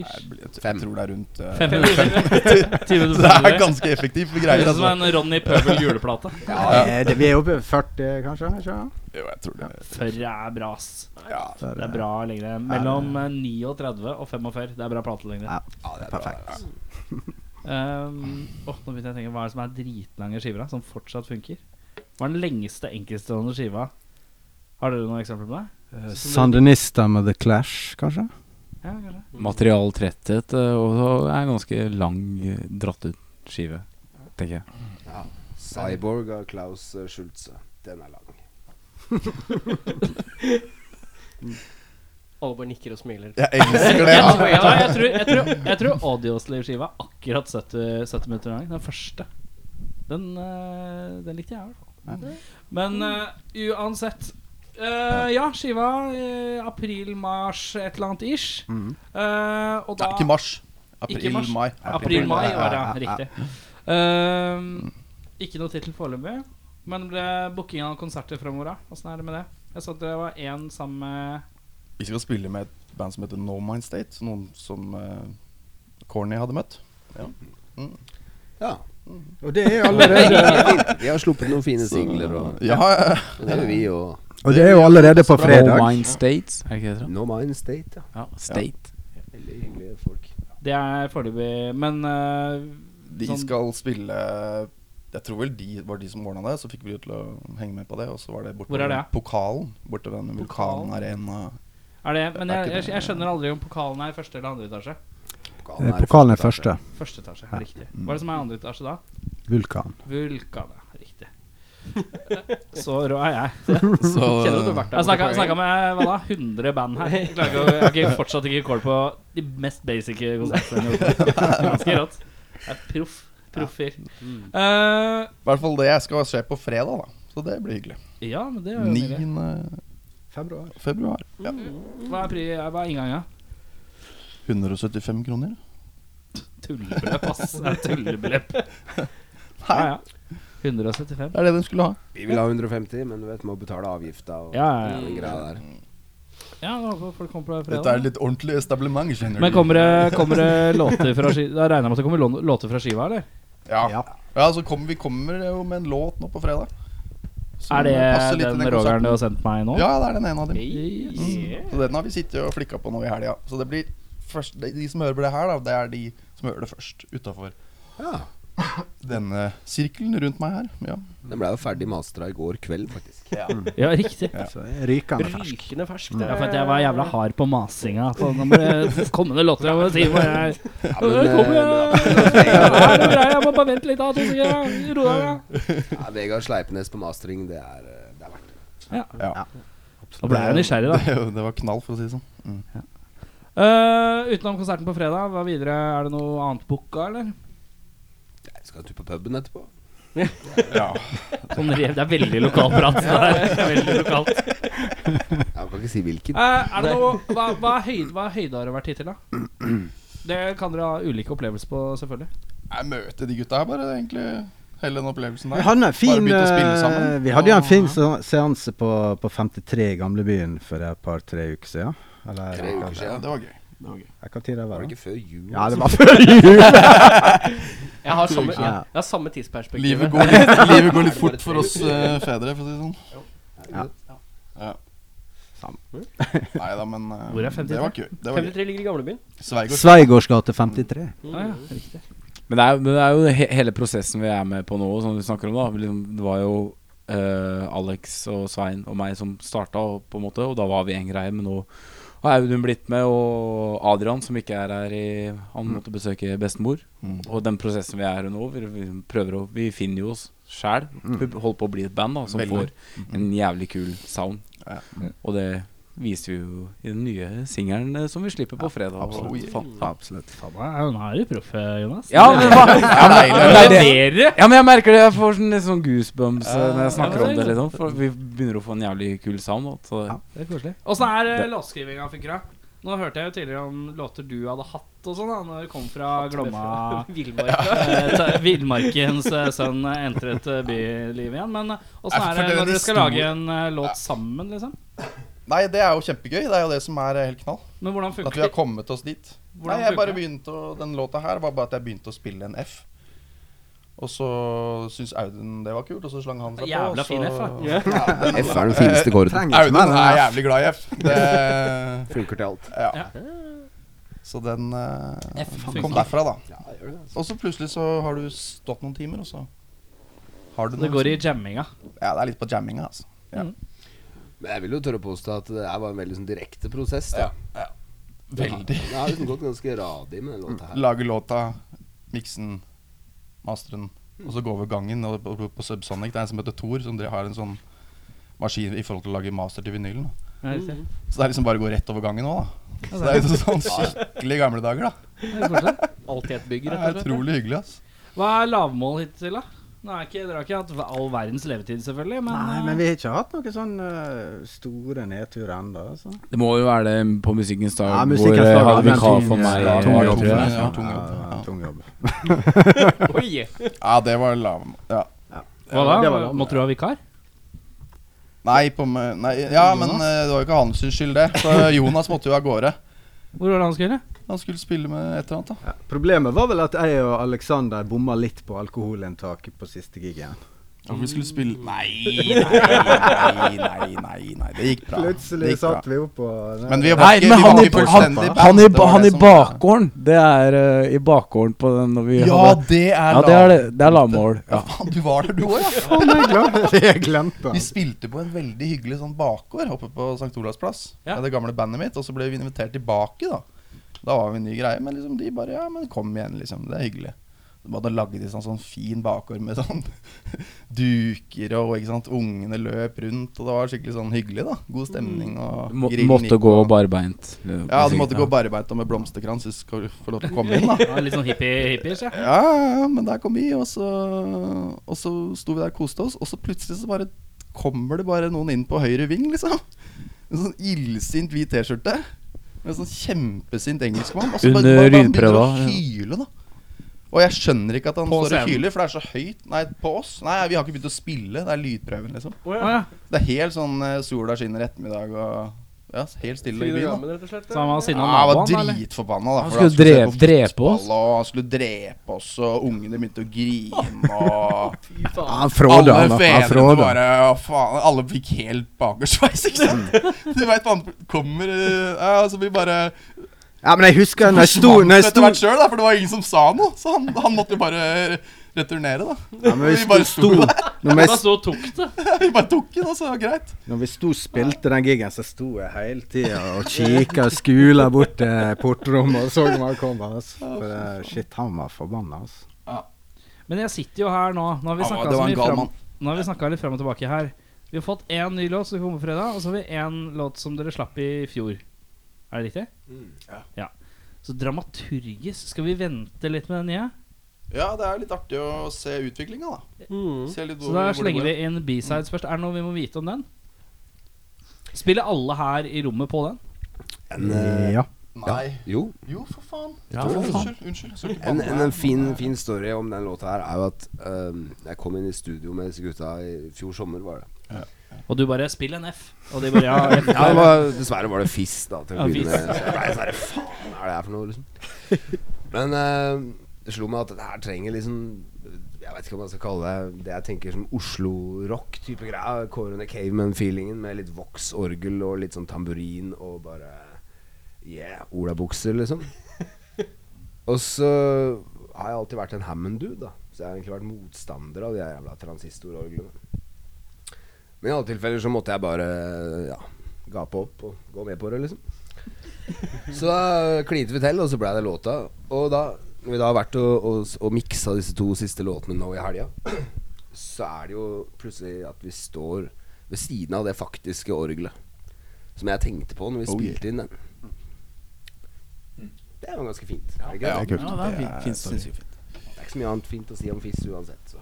S3: Jeg,
S1: Ish.
S3: blir- jeg
S6: Fem.
S3: tror det er rundt eh,
S1: Fem minutter. Ti
S3: Så det er
S1: minutter.
S3: ganske effektivt. Vi
S1: Høres
S3: greier
S1: ut altså. som
S3: altså.
S1: en Ronny Pøbel juleplate.
S5: Eh, det, vi er oppe i 40, kanskje? ikke?
S3: Jo, jeg tror det.
S1: Førre er bra, ass.
S3: Ja,
S5: Der,
S1: Det
S5: eh,
S1: er bra lengde. Mellom eh, 39 og 45. Det er bra platelengde.
S5: Ja.
S6: ja, det er bra.
S5: Perfekt.
S1: Um, åh, nå begynte jeg å tenke Hva er det som er dritlange skiver da, som fortsatt funker? Hva er den lengste enkeltstående skiva? Har dere noen eksempler på det?
S5: Eh, Sandinista med The Clash, kanskje?
S1: Ja, kanskje
S4: Materialtretthet eh, og så er en ganske lang, eh, dratt ut skive, tenker jeg.
S6: Cyborg av Klaus eh, Schulze. Den er lang.
S2: Alle bare nikker og smiler.
S3: jeg elsker det.
S1: Jeg tror- ja, jeg tror, jeg tror, jeg tror Audiosliv-skiva er akkurat 70, 70 minutter lang. Den første. Den, eh, den likte jeg i hvert fall. Men eh, uansett Eh, Ja, skiva eh, april-mars et eller annet ish. Eh, og
S3: Nei,
S1: da
S3: Mm. ikke mars. April,
S1: Ikke mars.
S3: mai.
S1: April-mai var det, ja, riktig. Ehm, ikke noe tittel foreløpig. Men ble bookinga av konserter framover, da? Åssen er det med det? Jeg så at det var én sammen med
S3: Vi skal spille med et band som heter No Mind State. Noen som eh, Corny hadde møtt.
S6: Ja.
S5: Og det er allerede
S6: Vi har sluppet noen fine singler, og
S3: Ja,
S6: det gjør vi og
S5: Og det er jo allerede på
S4: No
S5: fredag.
S4: Mind States, er det ikke det? det heter?
S6: No Mind State. Ja.
S4: Ja, State.
S6: Veldig hyggelige folk.
S1: Det er foreløpig Men eh,
S3: de
S1: sånn-
S3: skal spille Jeg tror vel de var de som ordna det. Så fikk vi jo til å henge med på det. Og så var det borte
S1: Hvor er
S3: ved
S1: det?
S3: pokalen. Borte ved den
S1: Pokalen?
S3: vulkanarena.
S1: er det, Men
S3: Det er
S1: jeg,
S3: ikke
S1: jeg,
S3: det.
S1: jeg skjønner aldri om pokalen er i første eller andre etasje.
S5: Eh, Pokalen er første.
S1: Første etasje,
S5: Ja.
S1: riktig. Hva er det som er andre etasje da?
S5: Vulkan.
S1: Vulkanet. Riktig. Så rå er jeg.
S3: Så
S2: Kjenner du at du har vært
S1: Jeg
S2: der?
S1: snakka snakka med hva da, 100 band her. Jeg klarer ikke å- jeg har ikke- fortsatt ikke kål på de mest basic konsertene. jeg har gjort. Ganske rått. Jeg er proff. Proffer. Eh,
S3: i hvert fall det skal skje på fredag, da. Så det blir hyggelig.
S1: ja, men det er jo
S3: 9.
S1: nydelig.
S5: Februar.
S3: februar. Ja.
S1: Hva er, pri, hva er inngangen?
S3: 175 kroner.
S1: Tullebeløp, ass. Det er tullebeløp. Ja, ja. 175.
S3: Det er det de skulle ha.
S6: Vi vil ha 150, men du vet, må betale avgifta og
S1: Ja, ja, ja.
S6: den greia der.
S1: Ja, nå håper folk kommer på fredag.
S3: Dette er litt ordentlig establement, skjønner du.
S1: Men kommer det, kommer det låter fra skiva? Da regner jeg med at det kommer lå- låter fra skiva, eller?
S3: Ja,
S5: Ja.
S3: ja så kommer, vi kommer eh, jo med en låt nå på fredag. Som
S1: Er
S3: passer
S1: det
S3: litt til
S1: den rogeren
S3: konserten.
S1: du har sendt meg nå?
S3: Ja, det er den ene av dem. Mm.
S1: Yes.
S3: Så den har vi sittet og flikka på nå i helga. Så det blir først, de, de som hører på det her, da, det er de som hører det først utafor.
S6: Ja.
S3: denne sirkelen rundt meg her. Ja.
S6: Den ble jo ferdig mastra i går kveld, faktisk.
S1: Ja, riktig. Ja,
S5: Så altså, rykende fersk.
S2: Rykende fersk. det
S1: for
S2: er-
S1: at jeg var jævla hard på masinga. Så nå må det komme noen låter. Jeg må si hvor jeg
S6: Ja,
S1: Nå
S6: men,
S1: kommer
S6: eh,
S1: jeg! Her er det greia, Jeg må bare vente litt. da, to sekunder, Ro deg. da.
S6: ja, Vegard Sleipnes på mastering, det er, eh, det er verdt det.
S1: Nå ble jeg nysgjerrig, da.
S3: Det, det var knall, for å si det sånn.
S1: Eh, utenom konserten på fredag, hva videre? Er det noe annet booka, eller?
S6: Jeg skal en tur på puben etterpå.
S3: Ja.
S1: Sånn rev, det er veldig lokalprat. det er Veldig lokalt.
S6: Jeg kan ikke si
S1: Eh,
S6: hvilken.
S1: er det noe, hva, hva, er høyde, hva er høyde har det vært hittil, da? Det kan dere ha ulike opplevelser på, selvfølgelig.
S3: Jeg møter de gutta her, bare. det er Egentlig hele den opplevelsen
S5: Vi
S3: der.
S5: hadde en fin
S3: begynte å spille
S5: eh,
S3: sammen.
S5: Vi hadde jo en
S1: Ja.
S5: fin se- seanse på, på 53 i Gamlebyen for et par-tre uker siden. Eller
S6: Tre uker
S3: Ja,
S6: siden.
S3: det var gøy. Det var gøy.
S5: hva tid det
S6: Var
S5: var?
S6: det
S5: da?
S6: ikke før jul?
S5: Ja, det var før jul!
S2: Jeg har samme,
S5: Ja.
S2: jeg har samme tidsperspektiv.
S3: Livet går litt, livet går litt fort for oss eh, fedre, for å si det sånn.
S5: Ja.
S3: Ja.
S5: Samme.
S3: Nei da, men eh,
S1: Hvor er 53?
S3: Det var gøy. Det var gøy.
S2: 53 ligger i gamlebyen.
S3: Sveigård.
S5: Sveigårds gate 53.
S1: Ah, ja, riktig.
S4: Men det er, men det er jo he hele prosessen vi er med på nå, som du snakker om. da liksom, Det var jo eh, Alex og Svein og meg som starta, og, på en måte, og da var vi en greie. Men nå har Audun blitt med, og Adrian, som ikke er her i Han måtte besøke bestemor.
S3: Mm.
S4: Og den prosessen vi er i nå, vi, vi prøver å Vi finner jo oss sjæl. Vi holder på å bli et band da som
S3: Veldig.
S4: får en jævlig kul sound.
S3: Ja.
S4: Og det viser vi jo i den nye singelen eh, som vi slipper på fredag.
S3: absolutt.
S4: Og faen,
S5: Absolutt.
S1: Faen, Nå er du proff, eh, Jonas.
S4: Ja, men hva? Ja, men, det er det.
S1: Leverer!
S4: Ja, men jeg merker det. Jeg får sånn, litt sånn goosebumps eh, når jeg
S1: Ja,
S4: snakker om
S1: men
S4: det.
S1: det er
S4: liksom For Vi begynner å få en jævlig kul sound. da, Så det,
S1: Det er koselig. Åssen er eh,
S4: Det-
S1: låtskrivinga, Fikra? Nå hørte jeg jo tidligere om låter du hadde hatt og sånn, da når det kom fra Glomma.
S2: Villmarka.
S1: Eh, ta- Villmarkens eh, sønn eh, entret eh, bylivet igjen. Men eh, åssen
S3: Jeg
S1: er det
S3: forteller
S1: når
S3: en
S1: dere skal
S3: historie.
S1: lage en eh, låt sammen, liksom?
S3: Nei, det er jo kjempegøy. Det er jo det som er eh, helt knall.
S1: Men hvordan
S3: At vi har
S1: funker
S3: kommet oss dit.
S1: Hvordan
S3: Nei, jeg bare
S1: funker det?
S3: begynte å, Den låta her var bare at jeg begynte å spille en F. Og så syntes Audun det var kult, og så slang han seg på.
S1: Jævla
S3: og så-
S1: fin F, da.
S6: F er den fineste kåren.
S5: Trenger ikke
S3: Audun
S5: mer
S3: er
S5: enn det.
S3: jævlig glad i F. Det,
S6: Funker til alt.
S3: ja.
S1: Ja.
S3: Så den eh,
S1: F
S3: kom
S1: funker.
S3: derfra, da.
S6: Ja, gjør det. altså.
S3: Og så plutselig så har du stått noen timer, og så har du
S1: Det går i jamminga.
S3: Ja, det er litt på jamminga, altså.
S6: Men jeg vil jo tørre å påstå at det her var en veldig sånn direkte prosess. Da.
S3: Veldig.
S6: Det har liksom gått ganske radig med den låta her.
S3: Lage låta, miksen, masteren, og så gå over gangen. Og på, på Subsonic det er en som heter Thor, som dre- har en sånn maskin i forhold til å lage master til vinylen. da.
S1: Ja, riktig.
S3: Så det er liksom bare å gå rett over gangen nå, da. Så det er jo sånn skikkelig gamle dager, da.
S1: Det er koselig.
S2: Alltid et bygg,
S3: Det
S2: rett og
S3: er
S2: slett.
S3: utrolig hyggelig, ass.
S1: Hva er lavmål hittil, da? Nå er ikke, dere har ikke hatt all verdens levetid, selvfølgelig, men, eh,
S5: Nei, men vi har ikke hatt noen sånn eh, store nedturer ennå. Altså.
S4: det må jo være det på Musikkens dag
S5: Ja,
S4: hvor
S5: musikkens
S4: eh,
S5: dag,
S4: hadde
S5: ja,
S4: vikar
S5: men-
S4: for meg.
S3: Ja,
S4: eh,
S3: tung jobb,
S4: tror
S3: tror
S4: jeg.
S3: jeg. Ja, tung jobb.
S5: Ja, tung jobb.
S2: Oi!
S3: Ja, det var lav... Ja.
S1: hva da?
S5: det var lavmål.
S1: Måtte du ha vikar?
S3: Nei, på, meg- nei, ja, men eh, det var jo ikke hans skyld, det. Så Jonas måtte jo av gårde.
S1: Hvor var det han skulle?
S3: Han skulle spille med et eller annet, da.
S5: Ja. Problemet var vel at jeg og Aleksander bomma litt på alkoholinntaket på siste gigen.
S3: Om vi skulle spille Nei, nei, nei, nei, nei. Det gikk bra. Det
S5: Plutselig
S3: gikk bra.
S5: satt vi opp på
S3: Men vi var
S4: Nei,
S3: ikke,
S4: men
S3: vi var
S4: han i,
S3: ikke
S4: han,
S3: fullstendig band,
S4: han, i,
S3: det var
S4: han
S3: det
S4: i
S3: som-
S4: bakgården. Det er eh, i bakgården på den når vi
S3: Ja,
S4: hadde
S3: det er
S4: Ja, det er, det, det er lavmål.
S3: Ja,
S4: Ja.
S3: faen, du var der, du òg, ja.
S5: Faen, jeg glemte- jeg glemte
S3: Vi
S5: han.
S3: spilte på en veldig hyggelig sånn bakgård oppe på St. Olavs plass.
S1: Ja.
S3: Med det gamle bandet mitt. Og så ble vi invitert tilbake, da. Da var vi en ny greie. Men liksom de bare Ja, men kom igjen, liksom. Det er hyggelig. De hadde laget en sånn, sånn fin bakgård med sånn duker og ikke sant, ungene løp rundt. Og det var skikkelig sånn hyggelig, da. God stemning og
S4: Må,
S3: grillen
S4: måtte
S3: gikk,
S4: gå
S3: og-
S4: barbeint. eh,
S3: Ja,
S4: på
S3: du måtte
S4: musikken,
S3: gå
S4: ja.
S3: barbeint og med blomsterkrans hvis du skal få lov til å komme inn, da.
S1: Ja, litt sånn hippie-hippies, ja.
S3: Ja, ja, men der kom vi, og så, og så sto vi der og koste oss, og så plutselig så bare kommer det bare noen inn på høyre ving, liksom. En sånn illsint hvit T-skjorte. Med en sånn kjempesint engelskmann. Og så bare,
S4: Under
S3: bare, bare begynner å
S4: lydprøva, ja.
S3: hyle, da. Og jeg skjønner ikke at han
S1: På
S3: står og
S1: scenen.
S3: hyler, for det er så høyt. Nei, på oss. Nei, vi har ikke begynt å spille. Det er lydprøven, liksom.
S1: Å, ja.
S3: Det er helt sånn eh, sola skinner ettermiddag og ja, helt stille i byen. da.
S2: Telegrammen, rett og slett.
S1: Så han var
S3: Ja,
S1: sinna
S3: han var
S1: naboen, eller?
S3: dritforbanna. da,
S4: Han
S3: for
S4: skulle
S3: at se på
S4: drepe- drepe
S3: fotball,
S4: oss.
S3: Og han skulle drepe oss, og ungene begynte å grine. Og
S5: Ja, Han fråda
S3: alle
S5: han. da. Han
S3: fedrene
S5: fråda.
S3: bare å, faen, Alle fikk helt bakersveis, ikke sant? Du veit hva han kommer eh, ja, Og så blir bare
S5: Ja, men jeg husker når jeg sto,
S3: forsvant
S5: når jeg
S3: etter
S5: sto
S3: hvert sjøl, for det var ingen som sa noe. Så han, han måtte jo bare returnere, da.
S5: Ja, men vi
S3: Vi bare
S5: sto, sto, når,
S1: Da
S5: vi,
S1: så tok det.
S3: Vi bare tok den, og så var det greit.
S5: når vi sto og spilte den gigen, så sto jeg hele tida og kikka og skula bort til portrommet og så om han kom. Altså. For eh, shit, han var forbanna, altså.
S1: Men jeg sitter jo her nå. Nå har vi
S3: Ja,
S1: snakka
S3: det var
S1: så
S3: en
S1: mye
S3: gal
S1: frem-
S3: mann.
S1: nå har vi snakket litt frem og tilbake her. Vi har fått én ny låt som kommer på fredag, og så har vi én låt som dere slapp i fjor. Er det riktig? ja. Så dramaturgisk skal vi vente litt med den nye.
S3: Ja, det er litt artig å se utviklinga, da.
S2: Mm.
S3: Se litt
S1: Så da slenger vi inn B-sides først. Er det noe vi må vite om den? Spiller alle her i rommet på den?
S5: Ja.
S3: Nei.
S6: eh, Jo,
S3: Jo, for faen.
S6: Ja, for faen.
S3: unnskyld. unnskyld. Så ikke
S6: En,
S3: banne.
S6: en, en fin, fin story om den låta her er jo at ehm, jeg kom inn i studio med disse gutta i fjor sommer, var det.
S1: Og du bare 'spill en F'. Og de bare ja, F.
S6: Ja, det var, dessverre var det fiss, da. Til å
S1: Ja,
S6: begynne
S1: fiss.
S6: med. Så jeg ble sånn her, faen er det her for noe, liksom? Men ehm, det slo meg at det her trenger liksom Jeg vet ikke om man skal kalle det det jeg tenker som Oslo-rock-type greia. Kåre and the Caveman-feelingen med litt Vox-orgel og litt sånn tamburin og bare Yeah, olabukser, liksom. Og så har jeg alltid vært en Hammond-dude, da. Så jeg har egentlig vært motstander av de her jævla transistororglene. Men i alle tilfeller så måtte jeg bare ja, gape opp og gå med på det, liksom. Så da klinte vi til, og så blei det låta. Og da når vi da har vært og, og, og miksa disse to siste låtene nå i helga, så er det jo plutselig at vi står ved siden av det faktiske orgelet. Som jeg tenkte på når vi
S3: Oh, yeah.
S6: spilte inn den. Det var ganske fint. er det ikke det?
S3: Ja, det er kult.
S4: Ja, det er fin- fin story.
S3: sinnssykt fint.
S6: Det er ikke så mye annet fint å si om fiss uansett, så.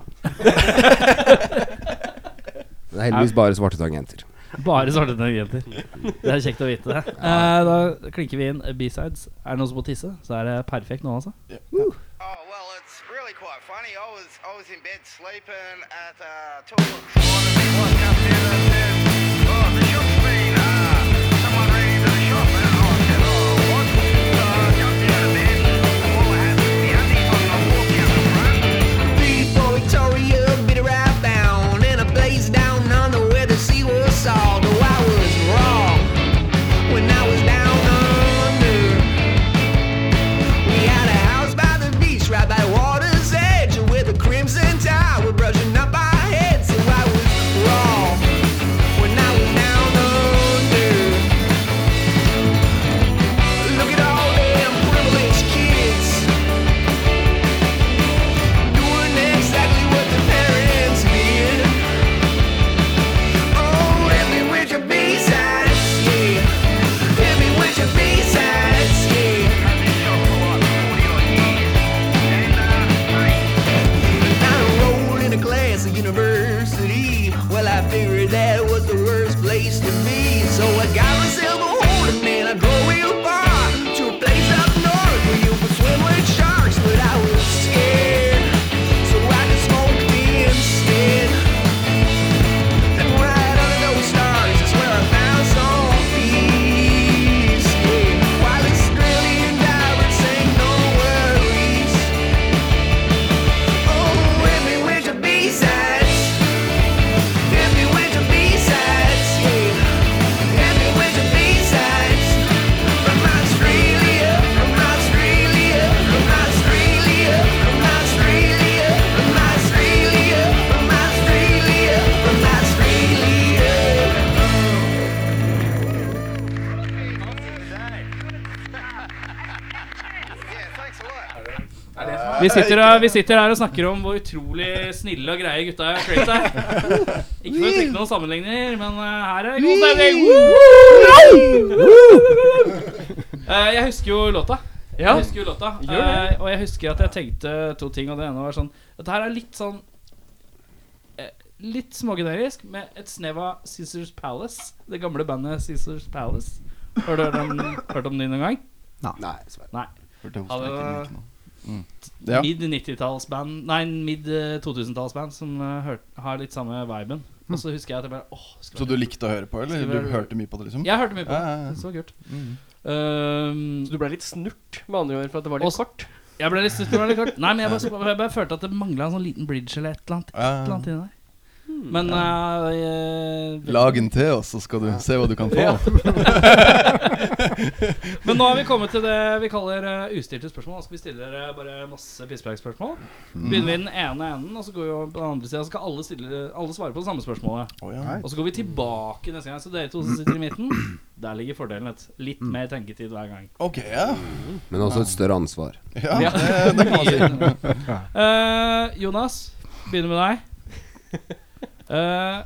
S6: Det er heldigvis bare svarte tangenter.
S1: Bare svarte tangenter. Det er kjekt å vite det. Eh, da klinker vi inn B-sides. Er det noen som må tisse, så er det perfekt nå, altså.
S7: Oh well, it's really quite funny. I was I was in bed sleeping at uh, two o'clock. this morning. My wife comes in and says, "Oh, the shop's been uh, someone ran into the shop." And I said, "Oh, what?" So I jumped out of bed, and all I had was my undies on. I walked out the front.
S8: Leave for Victoria, bitter right bound. And I blazed down under where the sea was salt. Oh, I was wrong when I was down under. We had a house by the beach, right by the water's edge. And with a crimson tide, we're brushing up our heads. So I was wrong when I was down under. Look at all them privileged kids doing exactly what their parents did. Oh, hit me with your B-sides, yeah. Hit me with your B-sides, yeah.
S7: I've been shot for like 40 odd years, and uh, mate,
S8: I enrolled in a class at university. Well, I figured that was the worst place to be. So I got myself a hornet and I drove real far to a place up north where you could swim with sharks. But I was scared, so I just smoked me instead. And right under those stars is where I found some peace. Yeah. While Australian divers say no worries. Oh, every winter B-sides. Every winter B-sides, yeah. Every winter B-sides. From Australia, from Australia, from Australia, from Australia, from Australia, from Australia, from Australia.
S7: yeah, thanks a lot.
S1: Vi sitter, her- vi sitter her og snakker om hvor utrolig snille og greie gutta er. Craig er. Ikke for å trekke noen sammenligninger, men eh, her er det god stemning. Eh, Jeg husker jo låta. Jeg husker jo låta eh, Og jeg husker at jeg tenkte to ting, og det ene var sånn Dette her er litt sånn eh, Litt smågenerisk, med et snev av Scissors Palace. Det gamle bandet Scissors Palace. Har du hørt om, hørt om det noen gang?
S6: Nei, dessverre.
S1: Ja,
S3: Hørte jeg
S1: det
S3: hoste
S1: var-
S3: litt nå. Mm. Ja.
S1: Mid 90-tallsband Nei, mid 2000-tallsband som eh, hørt, har litt samme viben. Og så husker jeg at jeg bare åh, skulle
S3: Mm. Så
S1: vært-
S3: du likte å høre på, eller?
S1: Skulle
S3: Du
S1: være-
S3: hørte mye på det, liksom?
S1: Jeg hørte mye på
S3: Ja,
S1: det.
S3: ja, Mm. ja.
S1: Det var kult. Ehm,
S2: Så du ble litt snurt, med andre ord, for at det var litt
S1: Også-
S2: kort?
S1: jeg ble litt stutt. Nei, men jeg bare, jeg bare følte at det mangla en sånn liten bridge eller et eller annet. Et
S3: Ja, ja,
S1: eller annet inni der. Men eh, jeg-
S3: Lag en til, og så skal du se hva du kan få.
S1: Men nå har vi kommet til det vi kaller eh, ustilte spørsmål. Da skal vi stille dere bare masse pisspreikspørsmål. Begynner vi i den ene enden, og så går vi over på den andre sida. Så skal alle, stille, alle svare på det samme spørsmålet.
S3: Å, ja.
S1: Og så går vi tilbake neste gang. Så dere to som sitter i midten, der ligger fordelen. vet du. Litt mer tenketid hver gang.
S3: Ok, ja.
S6: Men også et større ansvar.
S3: ja.
S1: Ja.
S3: Det, det kan man si.
S1: Eh, Jonas, begynner med deg. Eh,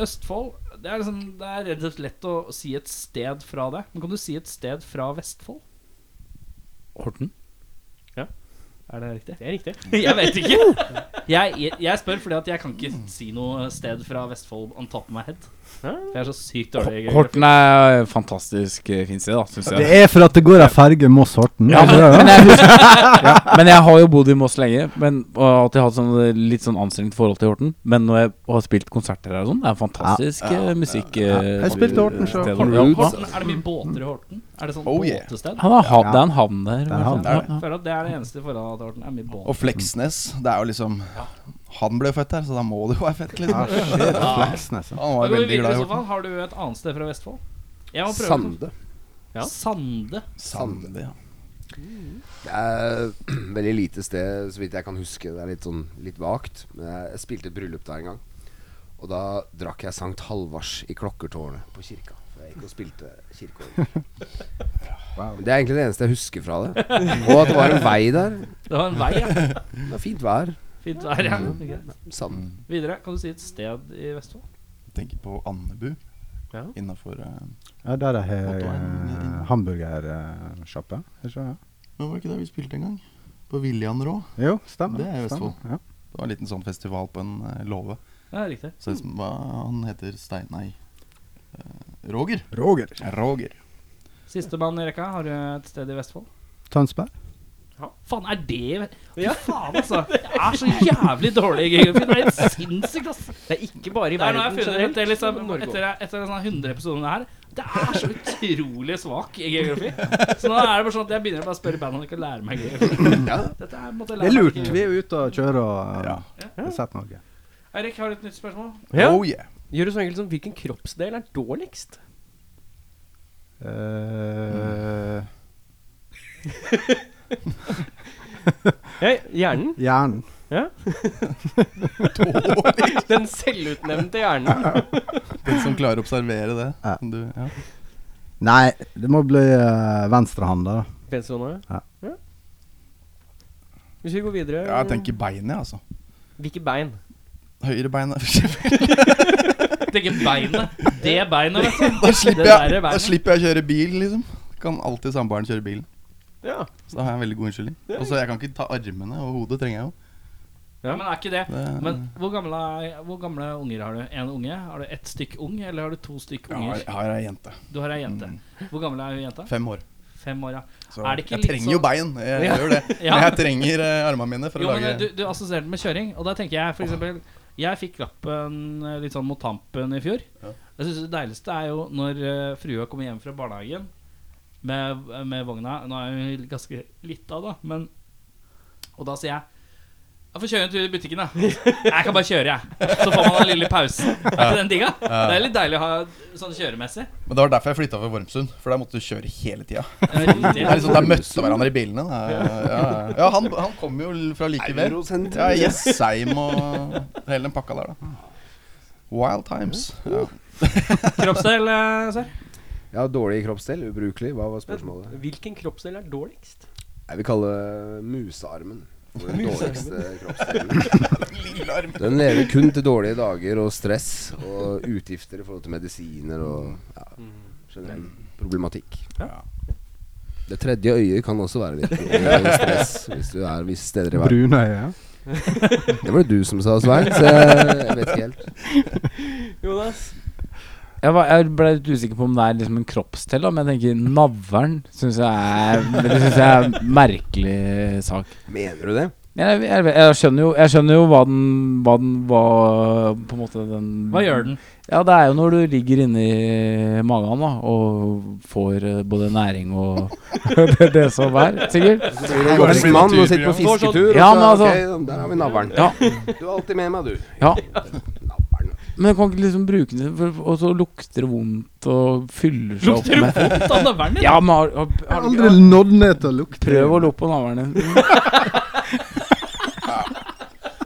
S1: Østfold det er, liksom, det er rett og slett lett å si et sted fra det. Men kan du si et sted fra Vestfold?
S4: Horten?
S1: Er det riktig?
S2: Det er riktig.
S1: Jeg vet ikke. Jeg, jeg, jeg spør fordi at jeg kan ikke si noe sted fra Vestfold on top of my head. For jeg er så sykt dårlig i geografi.
S4: Horten er et fantastisk eh, fint sted, da, syns jeg.
S5: Det er for at det går ei ferge Moss-Horten.
S4: Ja,
S5: Er det det,
S4: men,
S5: da?
S4: jeg husker, ja, men jeg har jo bodd i Moss lenge men, og har alltid hatt sånn, eh, litt sånn anstrengt forhold til Horten. Men når jeg har spilt konserter her og sånn, det er fantastisk eh, musikk. eh,
S5: Jeg spilte Horten selv.
S4: sted.
S5: Horten-
S4: Ja,
S1: Horten, er det mye båter i Horten? Er det sånn
S3: Oh, yeah.
S1: båtested?
S4: Han har hav,
S5: Ja.
S4: Det er en havn der.
S5: er en havn.
S4: Ja,
S1: Jeg føler at det er det eneste forholdet til Horten. Er mye båter.
S3: Og Fleksnes, det er jo liksom Han ble jo født her, så da må det jo være fett,
S5: Ja,
S3: liksom.
S5: Ah, shit, Fleksnes. ja.
S1: Da
S3: Han var jo
S1: går vi
S3: veldig
S1: videre
S3: glad
S1: i
S3: i
S1: så fall.
S3: Horten.
S1: Har du et annet sted fra Vestfold? Jeg må prøve
S6: Sande.
S1: Ja. Sande.
S3: Sande, ja.
S6: Det er veldig lite sted, så vidt jeg kan huske. Det er litt sånn litt vagt. Men jeg, jeg spilte et bryllup der en gang. Og da drakk jeg Sankt Halvards i klokkertårnet på kirka. For jeg gikk og spilte kirkeorgel. Det er egentlig det eneste jeg husker fra det. Og at det var en vei der.
S1: Det var en vei, ja.
S6: Det var fint vær.
S1: Fint vær, ja.
S5: Mm.
S1: Greit.
S6: Sand.
S1: Videre. Kan du si et sted i Vestfold?
S3: Jeg Tenker på Andebu.
S2: Ja.
S3: Innafor uh,
S5: Ja, der er
S3: Motorveien.
S5: uh, hamburgersjappa. Jo,
S3: Men var det ikke der vi spilte en gang? På Viljan Rå.
S5: stemmer.
S3: Det er i
S5: stemmer, Ja.
S3: Det var en liten sånn festival på en eh, låve.
S1: Ja, riktig.
S3: Så det som var, han heter Stein... Nei. eh, Roger.
S5: Roger.
S3: Roger.
S1: Sistemann i rekka. Har du et sted i Vestfold?
S5: Tønsberg.
S1: Ja. Faen, er det Fy faen, altså. Jeg er så jævlig dårlig i geografi. Det er helt sinnssykt, ass.
S2: Det er ikke bare i
S1: Det er noe jeg
S2: verden
S1: har funnet ut det er liksom,
S2: Norge
S1: etter, etter sånn 100 episoder om det her. Det er så utrolig svak i geografi. Så nå er det bare sånn at jeg begynner å bare spørre bandet om de kan lære meg geografi. Dette er, på en måte, lære
S5: Det
S1: meg
S5: er lurt.
S1: geografi.
S5: Vi er ute og kjører og uh, har sett Norge.
S1: Eirik, har du et nytt spørsmål?
S2: Ja.
S3: Oh yeah.
S2: Gjør det så enkelt som hvilken kroppsdel er dårligst?
S5: Uh,
S2: Ja, hjernen.
S5: hjernen.
S2: Den selvutnevnte hjernen.
S3: Den som klarer å observere det.
S5: Ja.
S3: Du, ja.
S5: Nei, det må bli uh, venstrehanda. da.
S2: Venstrehånda,
S5: Ja.
S2: ja. Hvis vi går videre
S3: ja, jeg tenker beinet, altså.
S2: Hvilke bein?
S3: Høyre bein Da
S1: Tenker beinet. Det beinet, vet du.
S3: slipper
S1: Det der
S3: jeg,
S1: er
S3: da
S1: beinet.
S3: slipper jeg å kjøre bil, liksom. Kan alltid samboeren kjøre bilen.
S2: Ja.
S3: Så da har jeg en veldig god unnskyldning. Og så jeg kan ikke ta armene og hodet, trenger jeg jo.
S1: Ja, men er ikke det
S3: Det-
S1: Men hvor gamle, er- hvor gamle unger har du? En unge? Har du ett stykk ung, eller har du to stykk
S3: Jeg har,
S1: unger?
S3: jeg har ei jente.
S1: Du har ei jente. Hvor gammel er hun jenta?
S3: Fem år.
S1: Fem år, ja.
S3: Så
S1: Er det ikke
S3: jeg
S1: litt
S3: trenger
S1: sånn-
S3: jo bein. Jeg gjør det.
S1: Ja.
S3: Men jeg trenger eh, armene mine for
S1: Jo,
S3: å
S1: men
S3: lage
S1: du, du assosierer den med kjøring, og da tenker jeg for eksempel Jeg fikk lappen eh, litt sånn mot tampen i fjor. Jeg synes Det deiligste er jo når eh, frua kommer hjem fra barnehagen med, med vogna. Nå er hun ganske lita, da, men Og da sier jeg jeg får kjøre en tur i butikken, da. Jeg kan bare kjøre, jeg. Så får man den lille pausen. Er ikke den digga? Det er litt deilig å ha sånn kjøremessig.
S3: Men det var derfor jeg flytta fra Vormsund, for der måtte du kjøre hele tida.
S1: Det
S3: Det
S1: er
S3: er liksom, der møtte hverandre i bilene. Da. Ja, ja, ja. ja han, han kom jo fra like ved.
S6: Eurosenter.
S3: Ja, Jessheim og hele den pakka der,
S1: Ah.
S3: da. Wild times. Ja.
S1: Kroppsdel, eh, Sør.
S6: Jeg har dårlig kroppsdel. Ubrukelig. Hva var spørsmålet?
S2: Hvilken kroppsdel er dårligst?
S6: Jeg vil kalle musearmen for den dårligste kroppsdelen. Den lever kun til dårlige dager og stress og utgifter i forhold til medisiner og ja, generell problematikk. Det tredje øyet kan også være litt eh, stress hvis du er visse steder i verden.
S5: Brunøye. Ja.
S6: Det var det du som sa, Svein. Så jeg vet ikke helt.
S2: Jonas?
S4: Jeg, var, jeg ble litt usikker på om det er liksom en kroppstell, da, men jeg tenker navlen syns jeg, er- det synes jeg er en merkelig sak.
S6: Mener du det?
S4: Jeg, jeg, jeg, skjønner, jo, jeg skjønner jo hva den Hva den hva, På en måte den
S1: Hva gjør den?
S4: Ja, det er jo når du ligger inni magen da og får eh, både næring og det, det som er, sikkert.
S6: Så blir du voksen mann og sitter på fisketur, og
S4: Ja, men
S6: så
S4: altså-
S6: ok, der har vi navlen.
S4: Ja.
S6: Du er alltid med meg, du.
S4: Ja.
S6: Navlen.
S4: Men jeg kan ikke liksom bruke den, for, og så lukter det vondt og fyller seg opp
S1: Lukter det
S4: med
S1: vondt av navlen?
S4: Ja, men har, har,
S5: Jeg
S4: har,
S5: har aldri nådd ned til å lukte.
S4: Prøv å lukke på navlen.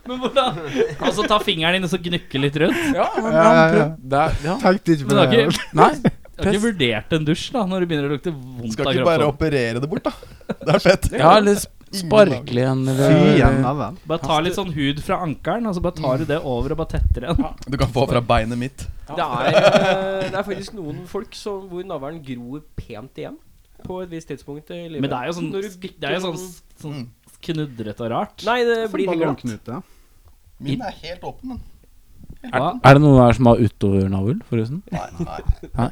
S1: Men hvordan? Og så ta fingeren din og så gnukke litt rundt?
S4: Ja, men,
S5: Ja, ja, ja.
S4: prøv. Det er, ja.
S5: Tenkte ikke
S1: Men
S5: på
S1: du har
S2: Eh,
S5: det.
S1: ikke,
S4: Nei.
S1: du har ikke vurdert en dusj da når det begynner å lukte vondt
S3: Skal
S1: av
S3: ikke bare
S1: kroppen?
S3: operere det bort, da. Det er fett.
S4: Ja, eller sp- sparkle igjen,
S5: Fy igjen,
S4: eller
S5: da vel.
S1: Bare ta litt sånn hud fra ankelen, og så bare tar du det over og bare tetter igjen.
S3: Du kan få fra beinet mitt.
S2: Det er, eh, det er faktisk noen folk som, hvor navlen gror pent igjen. På et visst tidspunkt i livet.
S1: Men det er jo sånn,
S2: Når du
S1: det er jo sånn, sånn knudrete og rart.
S2: Nei, det blir
S5: Sånn
S2: helt glatt.
S5: Ballongknute.
S3: Min er helt åpen, den.
S1: Hva?
S4: Er det noen her som har utovernavl, forresten?
S3: Nei, nei.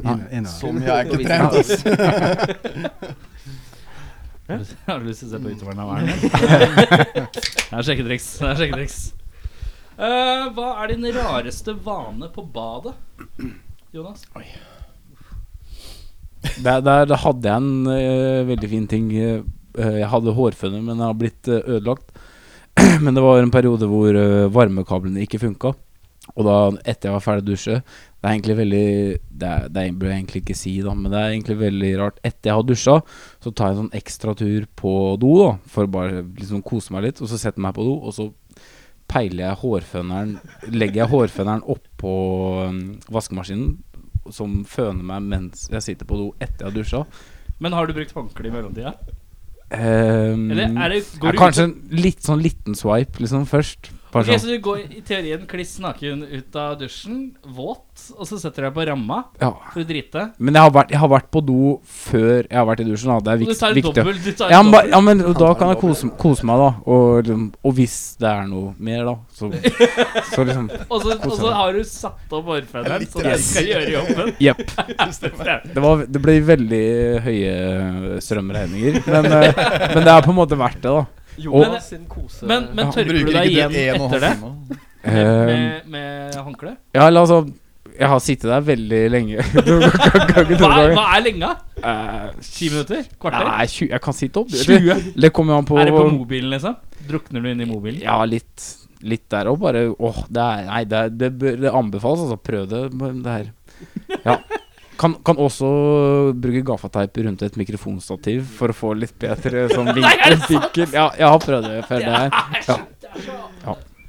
S5: Inn- innover.
S3: Så mye har jeg ikke trent, ass.
S1: Har du lyst til å se
S2: Mm.
S1: på utøveren av verden? Det er sjekketriks. Det er sjekketriks. Eh, hva er din rareste vane på badet, Jonas?
S4: Der, der hadde jeg en eh, veldig fin ting. eh, eh, jeg hadde hårføner, men det har blitt eh, ødelagt. men det var en periode hvor eh, varmekablene ikke funka. Og da, etter jeg var ferdig å dusje Det er egentlig veldig Det, er, det bør jeg egentlig ikke si, da, men det er egentlig veldig rart. Etter jeg har dusja, så tar jeg en sånn ekstra tur på do, da, for å bare liksom kose meg litt. Og så setter jeg meg på do, og så peiler jeg hårføneren Legger jeg hårføneren oppå um, vaskemaskinen, som føner meg mens jeg sitter på do etter jeg har dusja.
S1: Men har du brukt håndkle i mellomtida?
S4: Ehm,
S1: Eller er det,
S4: ja,
S1: går du
S4: kanskje en litt sånn liten swipe, liksom, først. Bare
S1: Ok, Så
S4: sånn.
S1: du går i teorien kliss naken ut av dusjen, våt, og så setter du deg på ramma
S4: Ja.
S1: for å drite?
S4: Men jeg har, vært, jeg har vært på do før jeg har vært i dusjen. Da. Det er
S1: Og du
S4: vikt,
S1: tar en
S4: viktig.
S1: dobbel. Du tar
S4: Ja,
S1: en
S4: men, ba-
S1: dobbel.
S4: ja, men da
S3: tar
S4: kan
S3: en
S4: jeg kose, kose meg, da. Og, liksom- og hvis det er noe mer, da, så, så liksom
S1: Og så, og så har du satt opp hårføneren, så den skal gjøre jobben.
S4: Jepp. Det, var, det ble veldig høye strømregninger. Men, eh, men det er på en måte verdt det, da.
S2: Jonas sin kose...
S1: Men, men
S4: Ja,
S1: tørker du deg igjen etter det? Med,
S4: Eh,
S1: med, med håndkle?
S4: ja, eller altså Jeg har sittet der veldig lenge.
S1: Hva, er- hva er lenga?
S4: Eh,
S1: Ti minutter? Kvarter?
S4: Nei, 20, jeg kan sitte opp. Det, det kommer jo an på
S1: Er det på mobilen, liksom? Drukner du inn i mobilen?
S4: Ja, litt, litt der òg. Bare åh, det er Nei, det, er- det, bør- det anbefales, altså. Prøv det, men det her. Ja. Kan, kan også bruke gaffateip rundt et mikrofonstativ for å få litt bedre sånn vin- vinkel. Ja, jeg har prøvd det før. Det her. Ja.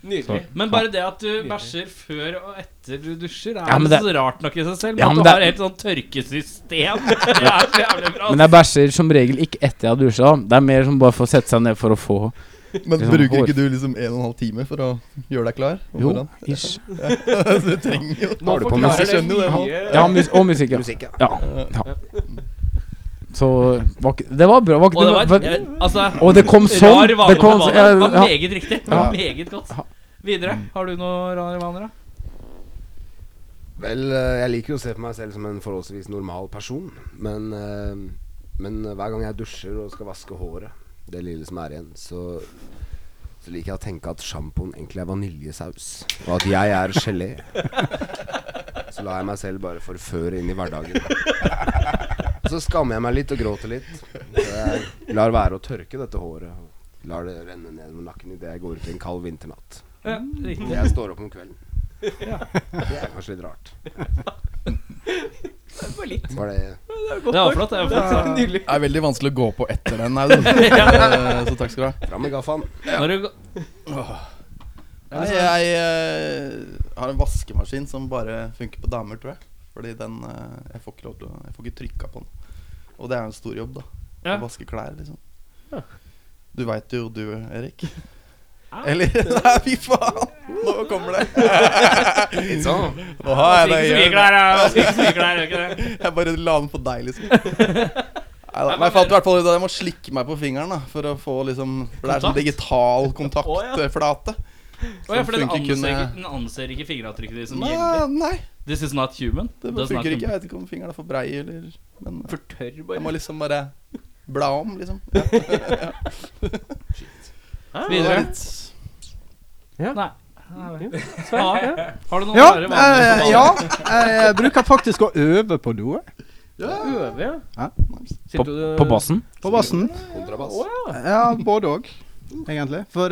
S2: Nydelig.
S1: Men bare det at du bæsjer før og etter du dusjer, er
S4: Ja, men
S1: det... så rart nok i seg selv.
S4: Ja,
S1: men
S4: men
S1: at du
S4: det-
S1: har helt sånn tørkesystem. Det er så jævlig bra.
S4: Men jeg bæsjer som regel ikke etter jeg har dusja. Det er mer som bare for å sette seg ned for å få
S3: Men
S4: Liksom,
S3: bruker
S4: hår.
S3: ikke du liksom en og en halv time for å gjøre deg klar? om
S4: Jo,
S3: morgenen?
S4: ish.
S3: du trenger jo
S4: Nå på
S3: Jeg
S4: musikk.
S3: skjønner jo det. han.
S4: Ja, mus og musikk, ja.
S6: Musikk, ja.
S4: ja. ja. Så var ikke, Det var bra. Var ikke,
S1: Og det var
S4: var-
S1: Altså
S4: Og det kom sånn!
S1: Rar vane
S4: det kom,
S1: på
S4: sånn,
S1: badet. Det var
S4: ja, ja.
S1: meget riktig. Det var meget godt. Videre, har du noen rare vaner, da?
S6: Vel, eh, jeg liker jo å se på meg selv som en forholdsvis normal person. Men, eh, men hver gang jeg dusjer og skal vaske håret, det lille som er igjen, så, så liker jeg å tenke at sjampoen egentlig er vaniljesaus. Og at jeg er gelé. Så lar jeg meg selv bare forføre inn i hverdagen. Så skammer jeg meg litt og gråter litt. Så jeg lar være å tørke dette håret. Og lar det renne ned med nakken idet jeg går ut i en kald vinternatt.
S1: Ja, riktig.
S6: Jeg står opp om kvelden. Det er kanskje litt rart. Var det
S1: Det var flott. Det var flott.
S3: Det er veldig vanskelig å gå på etter den. Her, da. Eh, så takk skal du ha.
S6: Fram med gaffaen.
S1: Når du,
S3: Nei,
S1: Altså-
S3: jeg eh, har en vaskemaskin som bare funker på damer, tror jeg. Fordi den eh, Jeg får ikke lov til å Jeg får ikke trykka på den. Og det er jo en stor jobb, da.
S1: Ja.
S3: Å vaske klær, liksom. Du veit jo du, Erik. Eller Nei, fy faen! Nå kommer det. Nå har jeg det i
S1: Ikke så mye
S3: hjørnet.
S1: klær, ja. Ikke så mye klær, gjør ikke det?
S3: Jeg bare la den på deg, liksom. Neida, Men jeg fant i hvert fall ut at jeg må slikke meg på fingeren da for å få liksom For det er sånn digital kontaktflate.
S1: Å ja, for den
S3: funker kun,
S1: anser,
S3: eh,
S1: ikke, den anser ikke fingeravtrykket ditt som
S3: Nei,
S1: gyldig.
S3: nei,
S1: This is not human.
S3: det
S1: Does not
S3: funker ikke.
S1: human.
S3: Jeg vet ikke om fingeren er for brei eller Men eh,
S2: For tørr,
S3: jeg
S2: bare.
S3: må liksom bare bla om, liksom.
S1: Videre. Nei.
S2: Ja.
S1: Nei.
S2: Ja.
S1: Har du noen
S5: Ja,
S1: rare vaner?
S5: eh, ja, jeg bruker faktisk å øve på do.
S2: Øve, ja.
S5: Ja.
S2: Sitter du
S4: På bassen?
S5: På bassen.
S6: Kontrabass.
S5: Ja, både òg. egentlig. For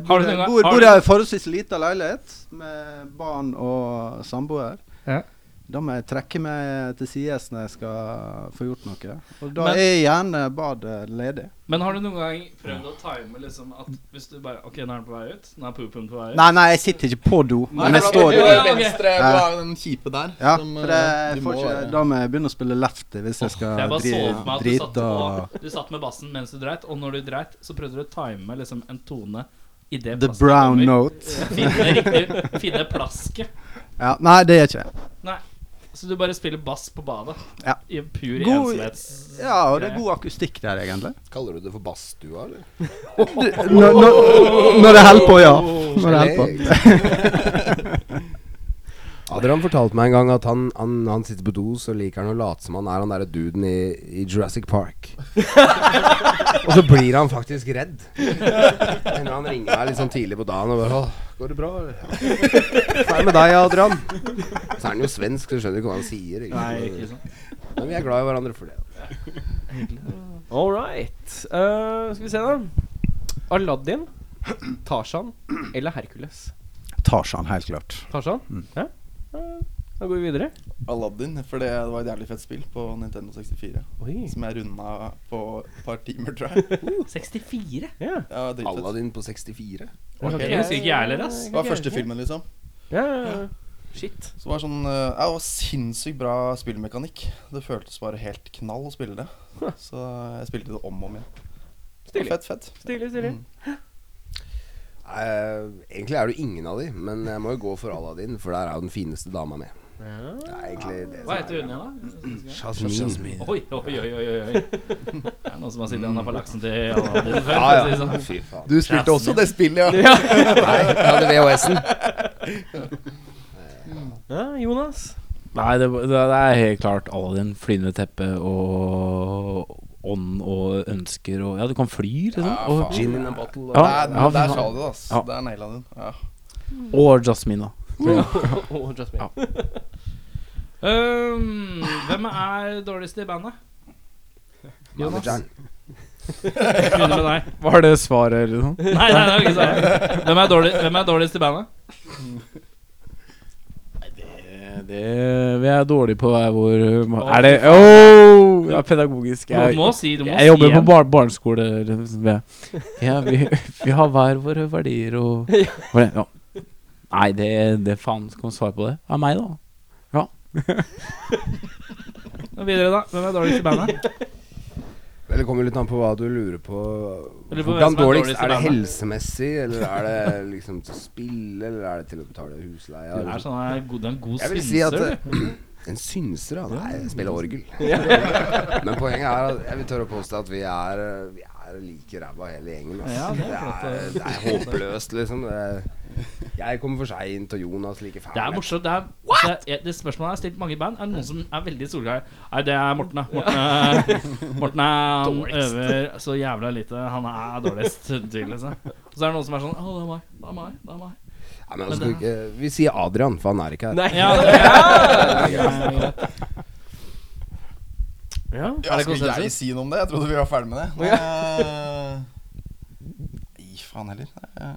S1: Har
S5: bor,
S1: du noen gang-
S5: bor,
S1: har
S5: bor
S1: du-
S5: jeg i forholdsvis lita leilighet med barn og samboer.
S1: Ja.
S5: Da må jeg trekke meg til sides når jeg skal få gjort noe. Og da
S1: Men-
S5: er gjerne badet ledig.
S1: Men har du noen gang prøvd å time liksom at hvis du bare Ok, nå er den på vei ut. Nå er poopen på vei ut.
S5: Nei, nei, jeg sitter ikke på do,
S3: Nei,
S5: men jeg
S3: for da-
S5: står
S3: du
S5: i
S1: jo,
S3: har
S1: Ja, ok.
S3: venstre
S5: Ja.
S3: bak den kjipe der.
S5: Eh, Ja,
S3: som,
S5: for
S3: eh,
S5: jeg
S3: du
S5: får
S3: må,
S5: ikke,
S3: eh,
S5: da må jeg begynne å spille lefty hvis jeg skal
S1: Jeg bare så
S5: dri-
S1: for meg at du satt,
S5: drite og
S1: på, du satt med bassen mens du dreit, og når du dreit, så prøvde du å time liksom en tone i det
S5: The
S1: plasket
S5: brown
S1: kommer.
S5: note.
S1: Finne riktig Finne plasket.
S5: Ja, nei, det er ikke jeg.
S1: Så du bare spiller bass på badet.
S5: Ja.
S1: I en pur
S5: God-
S1: ensomhets...
S5: Ja, og det er god akustikk der, egentlig.
S6: Kaller du det for badstua, eller?
S5: Når, når, når det holder på, ja. Når det holder på.
S6: Adrian fortalte meg en gang at han, han, han sitter på do, så liker han å late som han er han derre duden i, i Jurassic Park. og så blir han faktisk redd. Men han ringer meg litt sånn tidlig på dagen og bare «Åh, 'Går det bra?' eller?» Så er det med deg, Adrian. Så er han jo svensk, så skjønner du ikke hva han sier. Ikke?
S1: Nei,
S6: sant?
S1: ikke sant.
S6: Men vi er glad i hverandre for det.
S2: All right. Eh, skal vi se, da. Aladdin, Tarzan eller Hercules?
S5: Tarzan, helt klart.
S2: Tarzan?
S4: Mm.
S2: Ja. Eh, da går vi videre.
S3: Aladdin, for det var et jævlig fett spill på Nintendo 64.
S2: Oi.
S3: Som jeg runda på et par timer, tror jeg.
S1: 64?
S2: Ja.
S3: Ja, dritfett.
S6: Aladdin på 64.
S1: Ok, Det sånn, husker ikke jeg heller, ass.
S3: Det var første filmen, liksom.
S2: Ja, ja, ja. Shit.
S3: Så det var sånn eh, ja, det var Sinnssykt bra spillmekanikk. Det føltes bare helt knall å spille det. Så jeg spilte det om og om igjen. Det var
S2: Stilig.
S3: fett, fett.
S2: Stilig, stilig.
S6: Eh, egentlig er det jo ingen av de, men jeg må jo gå for Aladdin, for der er jo den fineste dama med. Det er egentlig det som
S1: Hva
S6: er
S1: heter hun igjen, da?
S6: Jasmine.
S1: Oi, oi, oi, oi, oi. Det er noen som har sittet i på laksen til Aladdin før.
S6: Ja,
S1: for å si det
S6: ja.
S1: sånn.
S6: Fy faen.
S3: Du spilte også det spillet, ja?
S6: Nei, jeg hadde VHS-en.
S2: Ja, Jonas.
S4: Nei, det, det, det er helt klart Aladdin. Flyvende teppe og ånd og ønsker og Ja, du kan fly, liksom.
S3: Ja,
S4: og,
S3: faen.
S6: Gin in a bottle.
S4: Ja.
S3: Der,
S4: Ja,
S3: der
S4: fy
S3: sa
S4: faen.
S3: du det, ass.
S4: Ja.
S3: Der naila du den. Ja.
S4: og Jasmina.
S2: Oh, just me.
S1: Um, hvem er dårligst i bandet?
S6: Manageren.
S1: Begynner med deg.
S4: Var det svaret, eller noe?
S1: Nei, nei, nei, ikke sant. Hvem er, dårlig, hvem er dårligst i bandet?
S4: Det Eh, Vi er dårlige på hver vår uh, Er det Åh! Det er pedagogisk.
S1: Du
S4: Jeg,
S1: må si du må
S4: jeg jobber på
S1: si
S4: bar barneskole. liksom, jeg. Ja, vi, vi har hver våre verdier og Var det- ja. Nei, det, det faen skal man svare på det. Av meg, da.
S1: Og Videre, da. Hvem er dårligst i bandet?
S6: Eller det kommer litt an på hva du lurer på.
S1: Lurer på hvem
S6: Hvordan
S1: som er
S6: dårligst?
S1: dårligst i
S6: Er det
S1: bandet.
S6: helsemessig, eller er det liksom til å spille, eller er det til å betale husleia?
S1: Du
S6: eller
S1: er
S6: sånn?
S1: sånn her god, du er en god
S6: Jeg vil si at
S1: synser, du.
S6: eh, en synser, ja. Nei, jeg spiller orgel. Men poenget er at jeg vil tørre å påstå at vi er, eh, vi er like ræva hele gjengen. ass.
S1: Ja, det er
S6: det, er,
S1: flott,
S6: det er håpløst, liksom. Det- Jeg kommer for seint, og Jonas like fæl.
S1: Det er morsomt. Det, er, altså, jeg, det spørsmålet jeg har stilt mange i band, er det noen som er veldig solgreier. Nei, det er Morten, da. Morten, er- Morten er, han øver så jævla lite. Han er dårligst, tydeligvis. da. Og så er det noen som er sånn Å, det er meg. Det er meg. Det er meg.
S6: Nei, men altså, skal vi ikke, vi sier Adrian, for han er ikke her.
S2: Nei.
S1: Ja, det er greit.
S2: Ja.
S3: Ja,
S1: Er det
S3: skulle jeg
S1: konsensus?
S3: si noe om det? Jeg trodde vi var ferdig med det. Nei, Nei, faen heller. Nei, eh.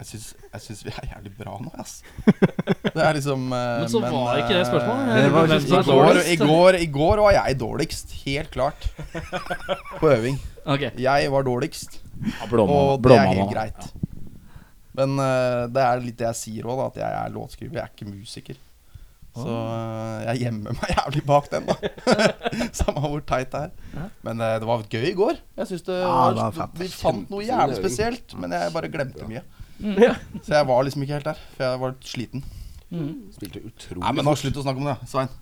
S3: Jeg syns, jeg syns vi er jævlig bra nå, ass. Det er liksom eh,
S1: Men så var
S3: eh,
S1: ikke det spørsmålet.
S3: det var
S1: Hvem
S3: ikke
S1: som er
S3: i, går,
S1: dårligst?
S3: i, går, I går var jeg dårligst, helt klart. På øving.
S1: Ok.
S3: Jeg var dårligst,
S4: Ja, blåmann-
S3: og det er
S4: blåmann,
S3: helt
S4: da.
S3: greit. Men eh, det er litt det jeg sier òg, at jeg er låtskriver, jeg er ikke musiker. Så eh, jeg gjemmer meg jævlig bak den, da. Samme hvor teit det er. Men eh, det var gøy i går. Jeg synes det
S5: Ja,
S3: var,
S5: det var fett.
S3: Vi fant noe
S6: Kjempefin
S3: jævlig
S6: øving.
S3: spesielt, men jeg bare glemte mye.
S2: Ja.
S3: Så jeg var liksom ikke helt der, for jeg var litt sliten.
S6: Spilte utrolig
S3: Nei, men nå slutt å snakke om det, Svein.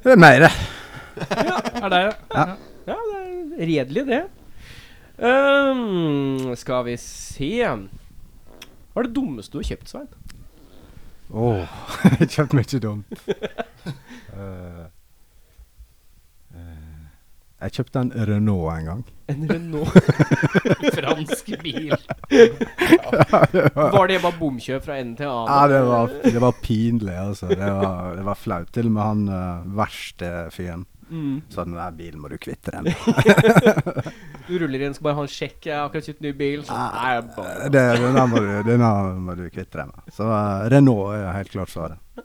S5: Det er mer.
S1: Er det ja.
S2: Ja, det er redelig, det. Ehm, skal vi se Hva er det dummeste du har kjøpt, Svein?
S5: Åh, jeg kjøpte mye dumt. Eh, eh, jeg kjøpte en Renault en gang.
S2: En Renault
S1: fransk bil?
S2: Var det bare bomkjøp fra ende til
S5: Ja,
S2: annen?
S5: det var, det var pinlig, altså. Det var, det var flaut. Til og med han uh, eh, verste fyren
S1: Mm.
S5: Så den der bilen må du kvitte deg med.
S2: Du ruller inn, skal bare ha en sjekk. Jeg har akkurat kjøpt ny bil. Så, nei, jeg bare.
S5: Det, den der må du, den der må du kvitte deg med. Så eh, Renault er helt klart svaret.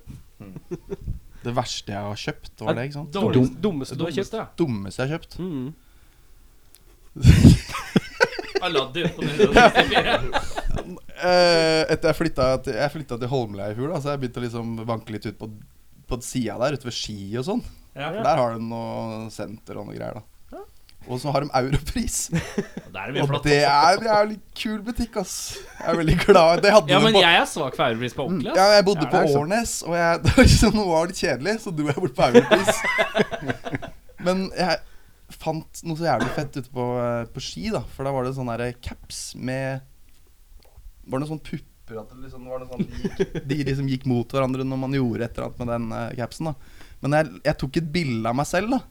S3: Det verste jeg har kjøpt, var det, ikke sant?
S2: Dum, dummeste du har kjøpt, ja.
S3: Dummeste jeg har kjøpt.
S2: Mm.
S3: Eh, etter jeg flytta til, jeg flytta til Holmlia i fjor, da, så jeg begynte å liksom vanke litt ut på, på sida der, ute ved Ski og sånn. For der har de noe senter og noe greier, da. Og så har de Europris.
S1: Der er vi
S3: Og
S1: flott.
S3: det er, det er en litt kul butikk, ass. Jeg er veldig glad. Det hadde
S1: Ja,
S3: de
S1: men
S3: på,
S1: jeg er svak for europris på altså. ordentlig.
S3: ja,
S1: ass.
S3: jeg bodde på Årnes, og jeg, det var liksom, noe var litt kjedelig, så dro jeg bort på Europris. Men jeg fant noe så jævlig fett ute på, eh, på ski, da. For da var det sånne der eh, caps med Var det noen sånne pupper at det liksom, var noe sånn, de, gikk- de liksom gikk mot hverandre når man gjorde et eller annet med den eh, capsen. da Men jeg, jeg tok et bilde av meg selv, da.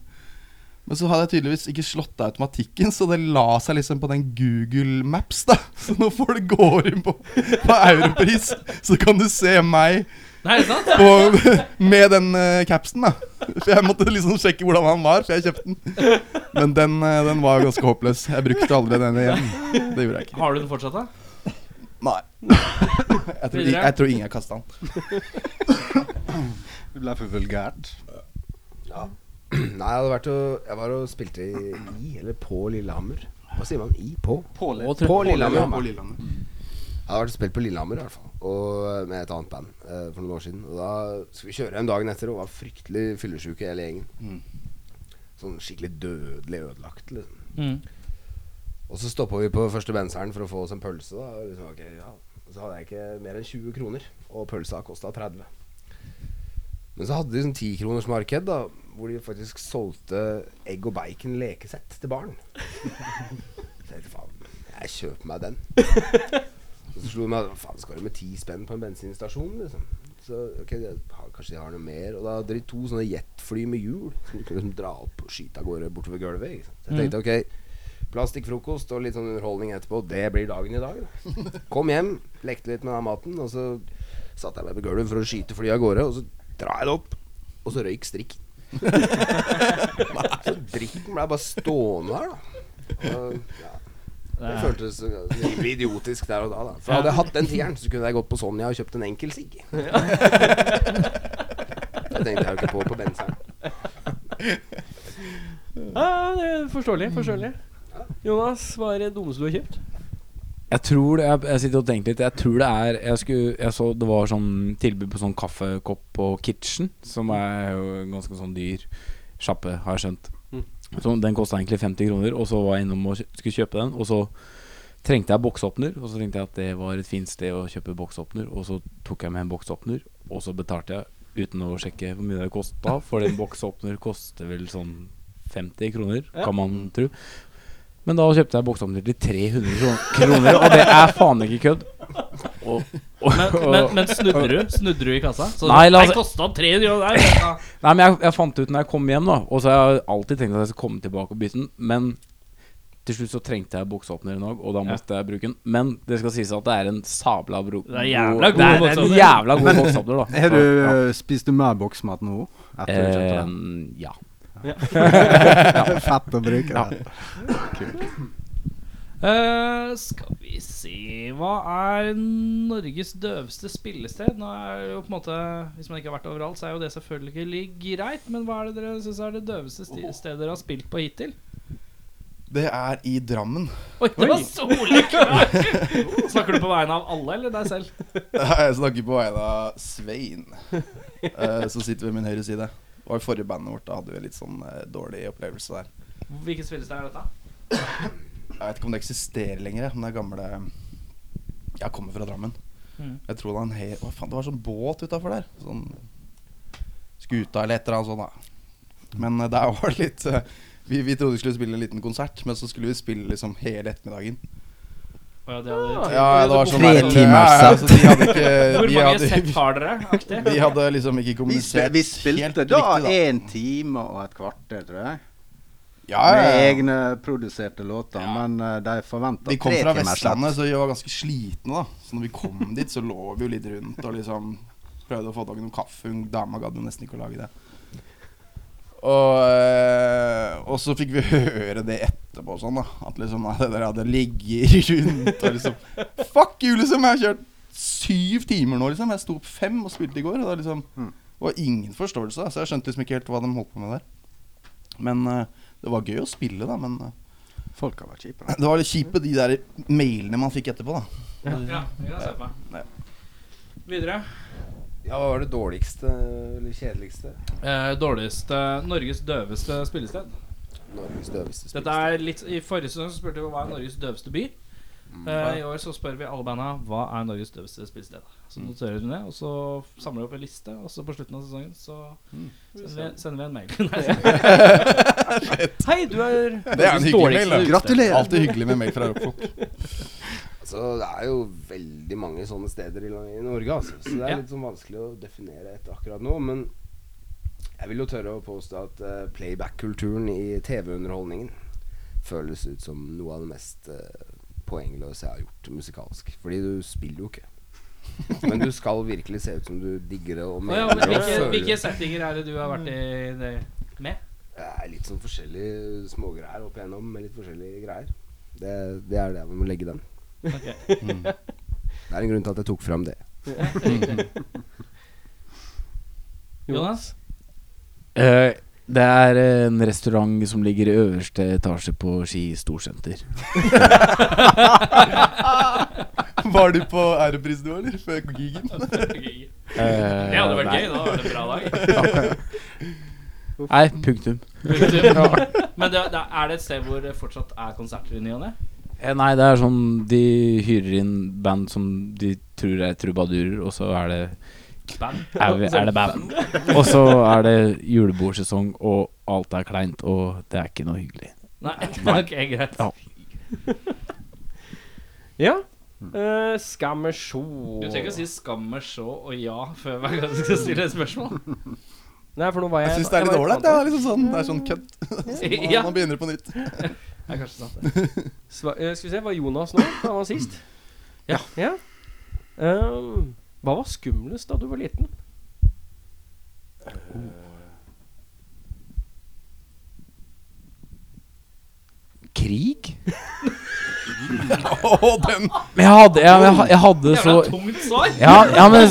S3: Men så hadde jeg tydeligvis ikke slått av automatikken, så det la seg liksom på den Google Maps, da. Så nå får du gå inn på, på Europris, så kan du se meg
S1: Nei, er det sant?
S3: på, med den eh, capsen, da. For jeg måtte liksom sjekke hvordan han var, for jeg kjøpte den. Men den, eh, den var ganske håpløs. Jeg brukte aldri den igjen. Det gjorde jeg ikke.
S1: Har du den fortsatt, da?
S3: Nei. Jeg tror, jeg tror ingen kasta den.
S5: Det ble for vulgært.
S6: Nei, jeg hadde vært og Jeg var og spilte i, i eller på Lillehammer. Hva sier man? I? På? På, Lillehammer.
S3: På Lillehammer.
S6: Jeg hadde vært og spilt på Lillehammer i hvert fall Og med et annet band eh, for noen år siden. Og da skulle vi kjøre hjem dagen etter og var fryktelig fyllesyke hele gjengen. Sånn skikkelig dødelig ødelagt, liksom. Og så stoppa vi på første benseren for å få oss en pølse. Da. Og Liksom, ok, ja. Og Så hadde jeg ikke mer enn 20 kroner, og pølsa kosta 30. Men så hadde de sånn 10-kronersmarked, da, hvor de faktisk solgte egg og bacon lekesett til barn. Så jeg tenkte faen, jeg kjøper meg den. Og så slo det meg faen, skal du med ti spenn på en bensinstasjon, liksom? Så ok, jeg har, kanskje de har noe mer. Og da hadde de to sånne jetfly med hjul som du kunne liksom dra opp og skyte av gårde bortover gulvet. Ikke sant? Så jeg tenkte ok, Plastikkfrokost og litt sånn underholdning etterpå. Det blir dagen i dag. Da. Kom hjem, lekte litt med den maten, og så satte jeg meg på gulvet for å skyte flyet av gårde. Og så drar jeg det opp, og så røyk strikk. så drikken ble bare stående her, da. Og, ja. Det føltes så- så rimelig idiotisk der og da. da. For Hadde jeg hatt den tieren, så kunne jeg gått på Sonja og kjøpt en enkel sigg. Det tenkte jeg jo ikke på på benseren.
S2: ja det er forståelig. Forståelig. Jonas, hva er det dummeste du har kjøpt?
S4: Jeg tror det, jeg, jeg sitter og tenker litt Jeg tror det er Jeg, skulle, jeg så det var sånn tilbud på sånn kaffekopp på Kitchen, som er jo en ganske sånn dyr sjappe, har jeg skjønt.
S1: Mm.
S4: Så den kosta egentlig 50 kroner, og så var jeg innom og kjø- skulle kjøpe den. Og så trengte jeg boksåpner, og så tenkte jeg at det var et fint sted å kjøpe boksåpner. Og så tok jeg med en boksåpner, og så betalte jeg uten å sjekke hvor mye det kosta. For en boksåpner koster vel sånn 50 kroner, kan man tro. Men da kjøpte jeg boksåpner til 300 kron- kroner, og det er faen ikke kødd. Og, og,
S1: Men, men, men snudde du? Snudde du i kassa? Så
S4: Nei, la oss-
S1: Nei, kosta 300 kroner. Nei, vent da.
S4: Nei, men jeg, jeg fant det ut når jeg kom hjem, da. Og så har jeg alltid tenkt at jeg skal komme tilbake og bytte den. Men til slutt så trengte jeg bukseåpner en dag, og da måtte jeg bruke den. Men det skal sies at det er en sabla bro
S1: Det er jævla god
S4: Det er en
S1: bukseåpner.
S4: jævla god bukseåpner, da.
S5: Har du,
S4: Ja.
S5: Spiser du mer boksmat nå? Etter du kjøpte
S4: Eh,
S5: den?
S4: ja.
S5: Fett å bruke.
S4: Ja.
S5: det.
S1: Eh, skal vi se Hva er Norges døveste spillested? Nå er det jo på en måte Hvis man ikke har vært overalt, så er jo det selvfølgelig greit. Men hva er det dere syns er det døveste sti- stedet dere har spilt på hittil?
S3: Det er i Drammen.
S1: Oi, det var soleklart! Snakker du på vegne av alle eller deg selv?
S3: Jeg snakker på vegne av Svein, eh, som sitter ved min høyre side. Det var i forrige bandet vårt, da hadde vi litt sånn eh, dårlig opplevelse der.
S1: Hvilket spillested er dette?
S3: Jeg vet ikke om det eksisterer lenger, men det er gamle Jeg kommer fra Drammen.
S1: Mm.
S3: Jeg tror det var en hel Hva faen, det var sånn båt utafor der. Sånn skuta eller et eller annet sånt, da. Men eh, der var det litt eh, vi, vi trodde vi skulle spille en liten konsert, men så skulle vi spille liksom hele ettermiddagen.
S1: Å ja, det hadde
S3: Ja, det var sånn
S5: Tre
S3: der-
S5: timer
S3: ja, ja, så de hadde ikke
S1: Hvor
S3: vi
S1: mange
S3: hadde,
S1: sett har dere? Aktig?
S3: vi hadde liksom ikke
S5: Vi, spil,
S3: kommunisert
S5: vi spilte
S3: helt
S5: da
S3: riktig,
S5: én time og et kvarter, tror jeg.
S3: Ja, ja,
S5: Med
S3: ja.
S5: egne produserte låter, men eh, de forventa
S3: De kom fra Vestlandet, så vi var ganske slitne. da Så når vi kom dit, så lå vi jo litt rundt og liksom prøvde å få tak i noe kaffe. Hun dama gadd jo nesten ikke å lage det. Og, eh, og så fikk vi høre det etterpå sånn, da. At liksom nei, det der hadde ligget rundt og liksom Fuck you, liksom! Jeg har kjørt syv timer nå, liksom. Jeg sto opp fem og spilte i går. Og det var liksom det var ingen forståelse, da, så jeg skjønte liksom ikke helt hva de holdt på med der. Men eh, det var gøy å spille, da. Men eh,
S5: Folk har vært kjipe. da.
S3: det var litt kjipe, de der mailene man fikk etterpå, da.
S1: Ja, det kan jeg se på.
S3: Ja.
S1: Videre.
S6: Ja, hva var det dårligste eller kjedeligste?
S1: Eh, dårligste Norges døveste spillested.
S6: Norges døveste
S1: Dette er litt I forrige sesong så spurte vi hva er Norges døveste by.
S3: Mm.
S1: Eh, I år så spør vi alle banda hva er Norges døveste spillested.
S3: Mm.
S1: Så noterer vi det, og så samler vi opp en liste, og så på slutten av sesongen så
S3: Mm.
S1: sender
S4: Mm.
S1: vi, sender vi en mail. Nei,
S2: Hei, du er
S3: Det er en hyggelig mail. da.
S5: Gratulerer.
S3: Alltid hyggelig med mail fra rockfolk.
S6: Så det er jo veldig mange sånne steder i, la- i Norge, altså. Så det er
S1: Ja.
S6: litt sånn vanskelig å definere et akkurat nå. Men jeg vil jo tørre å påstå at eh, playback-kulturen i TV-underholdningen føles ut som noe av det mest eh, poengløse jeg har gjort musikalsk. Fordi du spiller jo ikke. Men du skal virkelig se ut som du digger det
S1: Å
S6: og
S1: ja,
S6: mener
S1: men
S6: det. og
S1: hvilke,
S6: føler
S1: hvilke
S6: det.
S1: settinger er det du har vært i det med?
S6: Det er litt sånn forskjellige smågreier opp igjennom med litt forskjellige greier. Det, det er det vi må legge den. Mm.
S1: Ok.
S6: Det er en grunn til at jeg tok fram det.
S1: Jonas?
S4: Eh, det er en restaurant som ligger i øverste etasje på Ski storsenter.
S3: Var du på ærepris du, eller? Før gigen?
S1: Det
S4: Eh,
S1: hadde vært
S4: nei.
S1: gøy. Da var det en bra dag.
S4: Eh, Nei, punktum.
S1: Men det, det, er det et sted hvor det fortsatt er konserter i ny og ne?
S4: Eh, Nei, det er sånn De hyrer inn band som de tror er trubadurer, og så er det
S1: Band?
S4: er, vi- er det band. Og så er det julebordsesong, og alt er kleint, og det er ikke noe hyggelig.
S1: Nei, ok, greit.
S4: Ja.
S2: Ja. Uh, Skammersjå
S1: Du trenger ikke å si 'skammer så' og 'ja' før hver gang du skal stille et spørsmål.
S2: Nei, for nå var jeg
S3: Jeg syns det er litt
S2: jeg var-
S3: ålreit. Det er liksom sånn, det er sånn kødd.
S1: Ja.
S3: Man begynner på nytt.
S1: Det er kanskje sant, det.
S2: Sva- eh, Skal vi se, var Jonas nå? Han var sist.
S1: Ja.
S2: ja. Ehm, hva var skumlest da du var liten?
S4: Krig?
S3: Åh, den
S4: Men jeg hadde, jeg, jeg, jeg hadde
S1: Jævla
S4: så
S1: tungt svar!
S4: ja, ja, men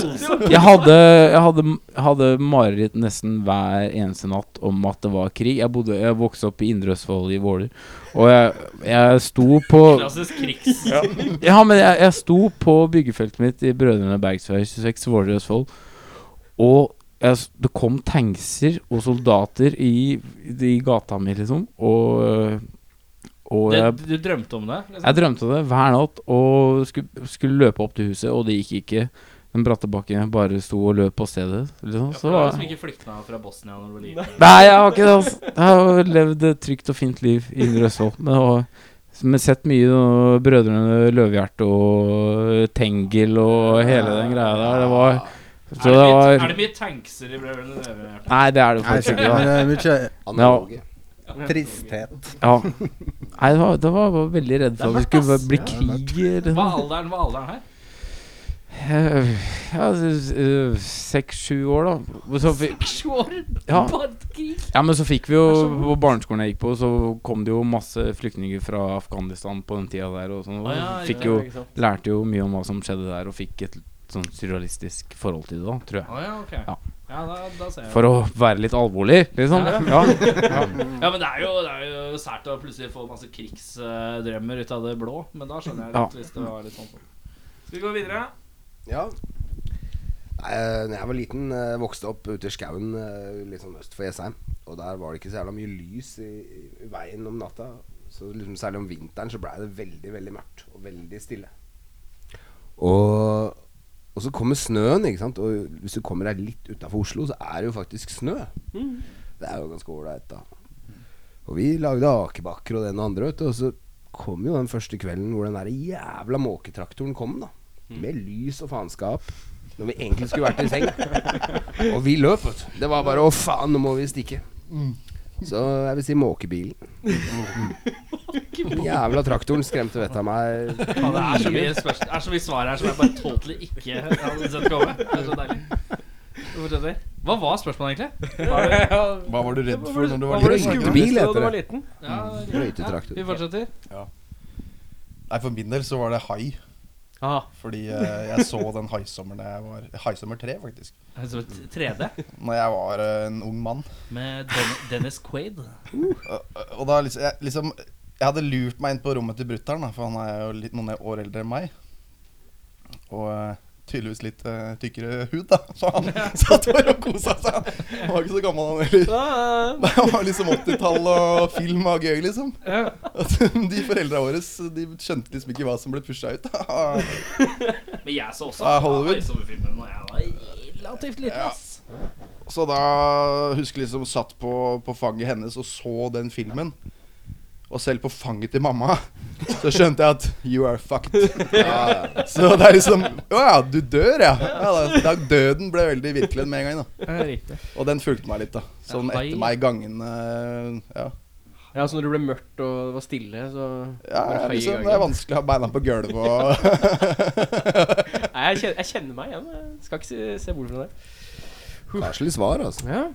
S4: jeg hadde, jeg hadde, jeg hadde mareritt nesten hver eneste natt om at det var krig. Jeg, bodde, jeg vokste opp i Indre Østfold i Våler, og jeg, jeg sto på
S1: Klassisk krigs...
S4: Ja, men jeg, jeg sto på byggefeltet mitt i Brødrene Bergsvei 26, Våler i Østfold, og jeg, s- det kom tankser og soldater i, i gata mi, liksom, og, og
S1: Det,
S4: jeg
S1: du drømte om det? Liksom.
S4: jeg drømte det hver natt og skulle, skulle løpe opp til huset, og det gikk ikke. Den Brattebakken bare sto og løp på stedet. Liksom.
S1: Ja, for
S4: Så
S1: du har
S4: var
S1: liksom ikke flykta fra Bosnia når du var liten?
S4: Nei, jeg har ikke det. Altså. Jeg har levd et trygt og fint liv i Indre Østfold. Men, og, men sett mye noe Brødrene Løvehjerte og Tengel og hele den greia der. Det var
S1: Er
S4: Så
S1: det,
S4: det
S1: mye,
S4: var
S1: er det mye tankser i Brødrene Løvehjerte?
S4: Nei, det er det
S5: Nei,
S4: faktisk
S5: sikkert.
S4: ikke. da.
S5: Men det er
S6: Analoge.
S5: mye tristhet.
S4: Ja. Nei, det var, det var, var veldig redd for at det skulle bli krig. Liksom.
S1: Hva er alderen, hva er alderen her?
S4: Eh, Ja, seks-sju år, da. Så vi,
S1: Sju år!
S4: Ja.
S1: Bare krig!
S4: Ja, men så fikk vi jo På barneskolen jeg gikk på, så kom det jo masse flyktninger fra Afghanistan på den tida der. Og sånn, og
S1: Å, ja,
S4: fikk
S1: ja,
S4: jo,
S2: ikke sant?
S4: lærte jo mye om hva som skjedde der, og fikk et sånn surrealistisk forhold til det, da, tror
S1: Å
S4: jeg.
S1: ja, ok.
S4: Ja.
S1: Ja, da, da ser jeg.
S4: For å være litt alvorlig, liksom. Ja.
S1: Ja, men det er, jo, det er jo sært å plutselig få masse krigsdrømmer ut av det blå, men da skjønner jeg litt
S4: Ja.
S1: hvis det var litt sånn. Skal vi gå videre?
S6: Ja. Nei, eh, Når jeg var liten, eh, vokste opp ute i skauen eh, litt sånn øst for Jessheim. Og der var det ikke så jævla mye lys i, i veien om natta. Så liksom særlig om vinteren så blei det veldig, veldig mørkt og veldig stille. Og, og så kommer snøen, ikke sant. Og hvis du kommer deg litt utafor Oslo, så er det jo faktisk snø. Det er jo ganske ålreit, da. Og vi lagde akebakker og det ene og andre, vet du. Og så kom jo den første kvelden hvor den der jævla måketraktoren kom, da. Med lys og faenskap. Når vi egentlig skulle vært i seng. Og vi løp, vet du. Det var bare 'å faen, nå må vi stikke'. Så jeg vil si måkebilen. Den Jævla traktoren skremte vettet av meg.
S1: Ja, det er så mye, spørs- det er så mye svar her som jeg bare totally ikke hadde sett komme. Det er så deilig. Vi fortsetter. Hva var spørsmålet, egentlig?
S3: Hva var du redd for når du
S2: Hva
S3: var
S2: var det
S3: liten?
S6: skumle? Bil
S2: skumleste da
S6: heter
S2: du var liten?
S6: Brøytetraktor.
S1: Vi fortsetter.
S3: Nei, for min del så var det hai.
S2: Ah.
S3: Fordi eh, jeg så den haisommeren da jeg var Haisommer 3, faktisk.
S1: Altså, t- 3D
S3: Når jeg var eh, en ung mann.
S1: med Den Dennis Quaid.
S3: Og da liksom jeg, liksom jeg hadde lurt meg inn på rommet til brutter'n, da, for han er jo litt, noen år eldre enn meg. Og eh, tydeligvis litt eh, tykkere hud, da. Så han satt der og kosa seg. Han var ikke så gammel, han heller.
S2: Ah,
S3: Det var liksom 80-tall og film var gøy, liksom.
S1: Ja.
S3: At De foreldra våre de skjønte liksom ikke hva som ble pusha ut. da.
S1: Men jeg så også
S3: Ah, Hollywood.
S1: i sommerfilmen da jeg var relativt liten. ass.
S3: Så da husker jeg liksom satt på, på fanget hennes og så den filmen. Og selv på fanget til mamma så skjønte jeg at you are fucked. Så det er liksom Å ja, du dør, ja. ja da, da døden ble veldig virkelig med en gang. da
S1: Ja, riktig.
S3: Og den fulgte meg litt, da. Sånn
S1: Ja,
S3: etter
S1: hei.
S3: meg gangene. Ja.
S2: ja, så når det ble mørkt og det var stille, så
S3: Ja,
S2: var det høy i
S3: liksom, det er
S2: gangen.
S3: vanskelig å ha beina på gulvet og
S2: Nei, jeg, kjenner, jeg kjenner meg igjen. Jeg skal ikke se, se bort fra det.
S6: Koselig svar, altså.
S2: Ja.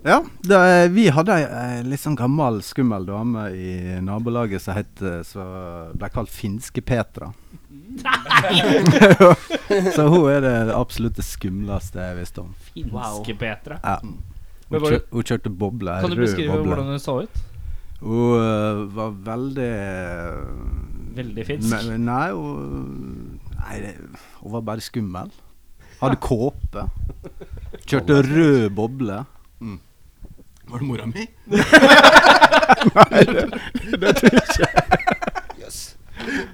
S5: Ja, det, vi hadde ei ei litt sånn gammel, skummel dame i nabolaget som het eh, som ble kalt Finske Petra. så hun er det absolutt det skumleste jeg visste om.
S1: Finske Petra.
S5: Ja.
S3: Mm.
S5: Hun,
S1: Men var
S5: kjør,
S1: det-
S5: hun kjørte boble,
S1: Kan du
S5: rød
S1: beskrive
S5: boble.
S1: hvordan hun så ut?
S5: Hun eh, var veldig eh,
S1: Veldig finsk.
S5: me- Nei, hun, nei det, hun var bare skummel. Hadde kåpe. Kjørte rød boble.
S3: Var det mora mi?
S6: Yes.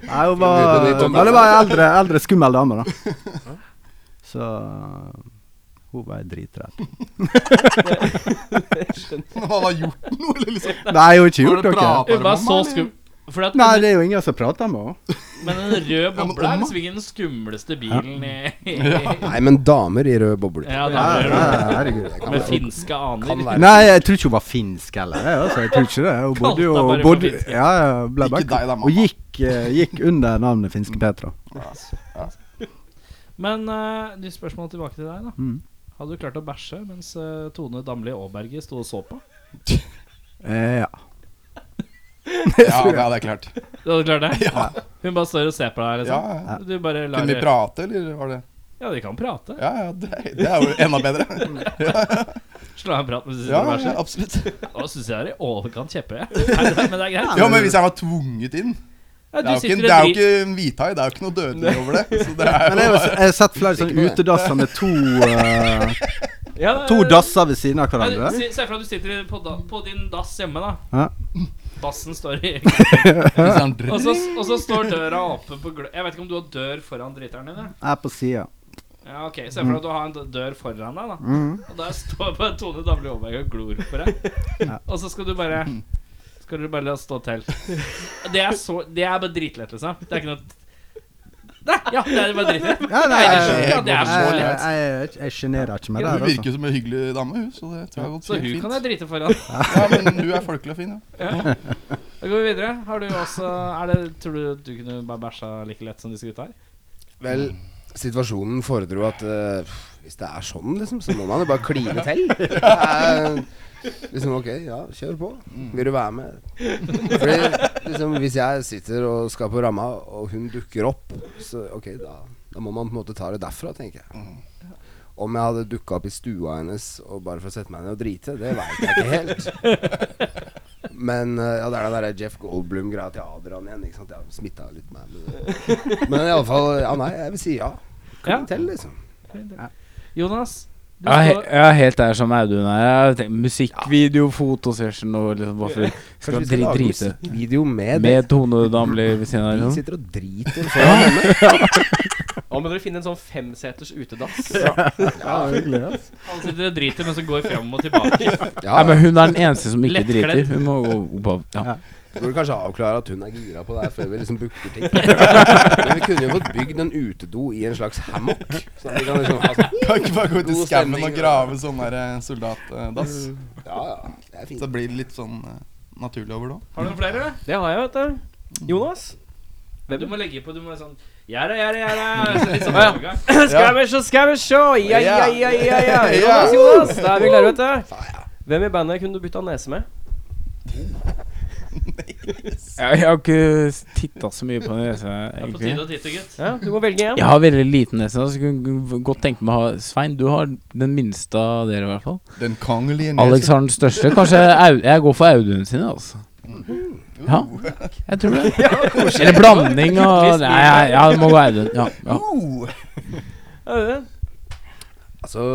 S5: Nei, hun
S6: Skal
S5: var
S6: vi begynne litt om-
S5: Nei, det var ei eldre, eldre skummel dame, da. Så hun var dritredd.
S3: Når man har gjort noe, eller liksom.
S5: Nei, hun har ikke gjort noe.
S3: prat?
S1: Hun var så skum... Fordi at
S5: Nei, det er jo ingen som prater med henne.
S1: Men en rød boble er
S3: om, da?
S1: liksom ikke den skumleste bilen i
S6: Nei, men damer i rød boble.
S1: Ja, da
S5: Nei,
S1: er det
S5: nei, Herregud.
S6: Det kan
S1: Med
S6: være-
S1: finske
S6: kan
S1: aner.
S6: være-
S5: Nei, jeg tror ikke hun var finsk heller. jeg, Altså, jeg tror ikke det. Hun bodde jo
S1: Kalte henne bare for
S5: hun bodde,
S1: finsk.
S5: ja, ja, ble
S3: Ikke
S5: bare,
S3: deg da, mamma.
S5: Hun gikk, eh, gikk under navnet Finske Petra.
S1: Men uh, de spørsmål tilbake til deg, da.
S5: Mm.
S1: Hadde du klart å bæsje mens eh, Tone Damli Aaberge sto og så på?
S5: Eh, ja.
S3: Ja, det hadde jeg klart.
S1: Du hadde klart det? Hun bare står og ser på deg,
S3: Ja,
S1: liksom?
S3: ja.
S1: Du bare lar
S3: Kunne vi prate, eller var det
S1: Ja, de kan prate.
S3: Ja, ja, det, det er jo enda bedre.
S1: Slå av en prat mens de
S3: Ja,
S1: sitter og
S3: ja,
S1: bæsjer.
S3: absolutt.
S1: Nå syns jeg det er i overkant kjeppe, jeg. Nei, nei, Men det er greit.
S3: Ja, men hvis jeg var tvunget inn
S1: Ja,
S3: Det er jo ikke,
S1: sitter
S3: det
S1: og
S3: er jo
S1: dri-
S3: ikke en hvithai, det er jo ikke noe dødelig over det. Så det er
S5: Men jeg,
S3: jo
S5: har- jeg har sett flere sånne utedasser med to eh,
S1: Ja, det-
S5: To dasser ved siden av
S1: Ja, du-
S5: hverandre.
S1: si- Se for deg at du sitter på, da, på din dass hjemme, da.
S5: Ja.
S1: Dassen står i
S3: bare
S1: og så, og så står døra åpen på glø... Jeg vet ikke om du har dør foran driteren din? eller?
S5: Jeg er på sida.
S1: Ja, ok, Se for deg at du har en d- dør foran deg, da.
S5: Mm.
S1: Og der står bare Tone Damli Aaberg og glor på deg. Og så skal du bare Skal du bare la stå til. Det er så Det er bare dritlett, liksom. Det er ikke noe Nei, ja, det er bare dritlett.
S5: Ja, nei,
S1: Ja,
S5: jeg, jeg,
S1: det er altså. så
S5: jeg,
S1: lett.
S5: jeg, jeg sjenerer ikke meg der,
S3: Hun
S5: altså.
S3: virker jo som en hyggelig dame, hun, så det tror jeg har gått
S1: Så hun
S3: fint.
S1: kan jeg drite foran.
S3: Ja, men hun er folkelig og fin, ja.
S1: Da går vi videre. Har du også er det, Tror du du kunne bare bæsja like lett som disse gutta her?
S6: Vel, situasjonen foredro at eh, pff, hvis det er sånn, liksom, så må man jo bare kline til. Det er liksom ok, ja, kjør på. Vil du være med? Fordi liksom, hvis jeg sitter og skal på ramma, og hun dukker opp, så ok, da, da må man på en måte ta det derfra, tenker jeg. Om jeg hadde dukka opp i stua hennes og bare for å sette meg ned og drite, det veit jeg ikke helt. Men eh, ja, det er den derre Jeff Goldblum-greia til Adrian igjen. Ikke sant? Jeg har smitta litt meg med det. Men iallfall Ja, nei, jeg vil si ja. Klin
S1: Ja.
S6: til, liksom.
S1: Jonas? Du
S4: Jeg er
S1: står
S4: he- jeg er helt der som Audun er. Jeg tenker Musikkvideo, fotosession og liksom bare for
S6: Kanskje
S4: skal
S6: vi skal
S4: dri
S6: lage
S4: drite.
S6: Video med,
S4: Med Tone Damli ved siden av.
S6: det. De
S4: Liksom.
S6: sitter og driter sånn. foran henne.
S2: Nå må dere finne en sånn femseters utedass.
S1: Han sitter og driter mens han går fram og tilbake.
S6: Ja,
S4: Nei, men hun er den eneste som ikke
S1: Lettkledd.
S4: driter. Hun må gå opp av ja.
S6: Burde kanskje avklare at hun er gira på det her før vi liksom booker ting. Men vi kunne jo fått bygd en utedo i en slags hammock. Så vi kan liksom ha sånn
S3: Kan ikke bare gå ut i
S6: God
S3: skauen
S6: stemning,
S3: og grave sånn der eh, soldatdass.
S6: Ja, ja. Det er
S3: Så
S6: fint.
S3: det blir litt sånn eh, naturlig over det òg.
S1: Har du noen flere? eller?
S2: Det har jeg, vet du. Jonas?
S1: Du må legge på. Du må være sånn Gjerde, gjerde, gjerde. Litt sånn overgang. Skal vi se, skal vi se.
S2: Ja, ja, ja, ja, ja. Jonas, Jonas, da er vi klare, vet du. Hvem i bandet kunne du bytta nese med?
S4: Jeg, jeg har ikke titta så mye på den nesa,
S1: Det er på
S4: egentlig.
S1: tide å titte, gutt.
S2: Ja, du må velge en.
S4: Jeg har veldig liten nese, så jeg kunne godt tenke meg å ha Svein, du har den minste av dere, i hvert fall.
S3: Den kongelige
S4: Alex har den største. Kanskje Au- jeg går for Audun sine, altså. Ja, jeg tror det. Eller blanding og Nei, jeg- ja, det må gå Audun. Ja, ja.
S2: Audun?
S6: Altså,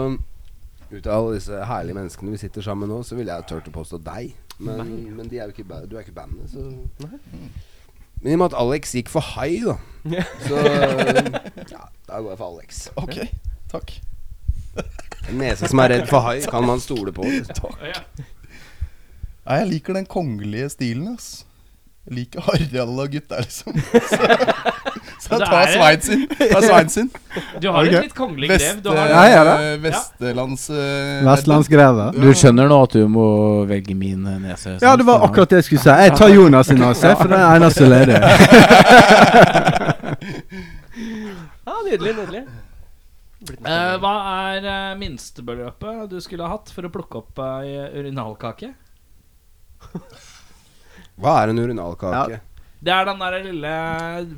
S6: ut av alle disse herlige menneskene vi sitter sammen med nå, så ville jeg turt å påstå deg. Men, men de er jo ikke, i ba- du er ikke i bandet, så Men i og med at Alex gikk for high, da,
S2: Ja.
S6: så ja, da går jeg for Alex.
S3: Ok, takk.
S6: En nese som er redd for hai, kan man stole på. Liksom.
S3: Nei, jeg liker den kongelige stilen, ass. Jeg liker Harald og gutta, liksom. Så, så
S1: Men
S3: jeg
S1: det
S3: tar
S1: er-
S3: Svein sin. Tar Svein sin.
S1: Du har
S3: Ok.
S1: et litt kongelig grev. Du har
S5: Ja, ja, da.
S3: eh, Vestlands... eh,
S5: Vestlandsgrevet.
S4: Du skjønner nå at du må velge min eh, nese?
S5: Ja, det var akkurat det jeg skulle si. Jeg tar Jonas sin nese, for den er eneste ledige.
S2: Ja, nydelig, nydelig.
S1: Eh, hva er eh, minstebeløpet du skulle ha hatt for å plukke opp ei urinalkake?
S6: Hva er en urinalkake?
S1: Det er den der lille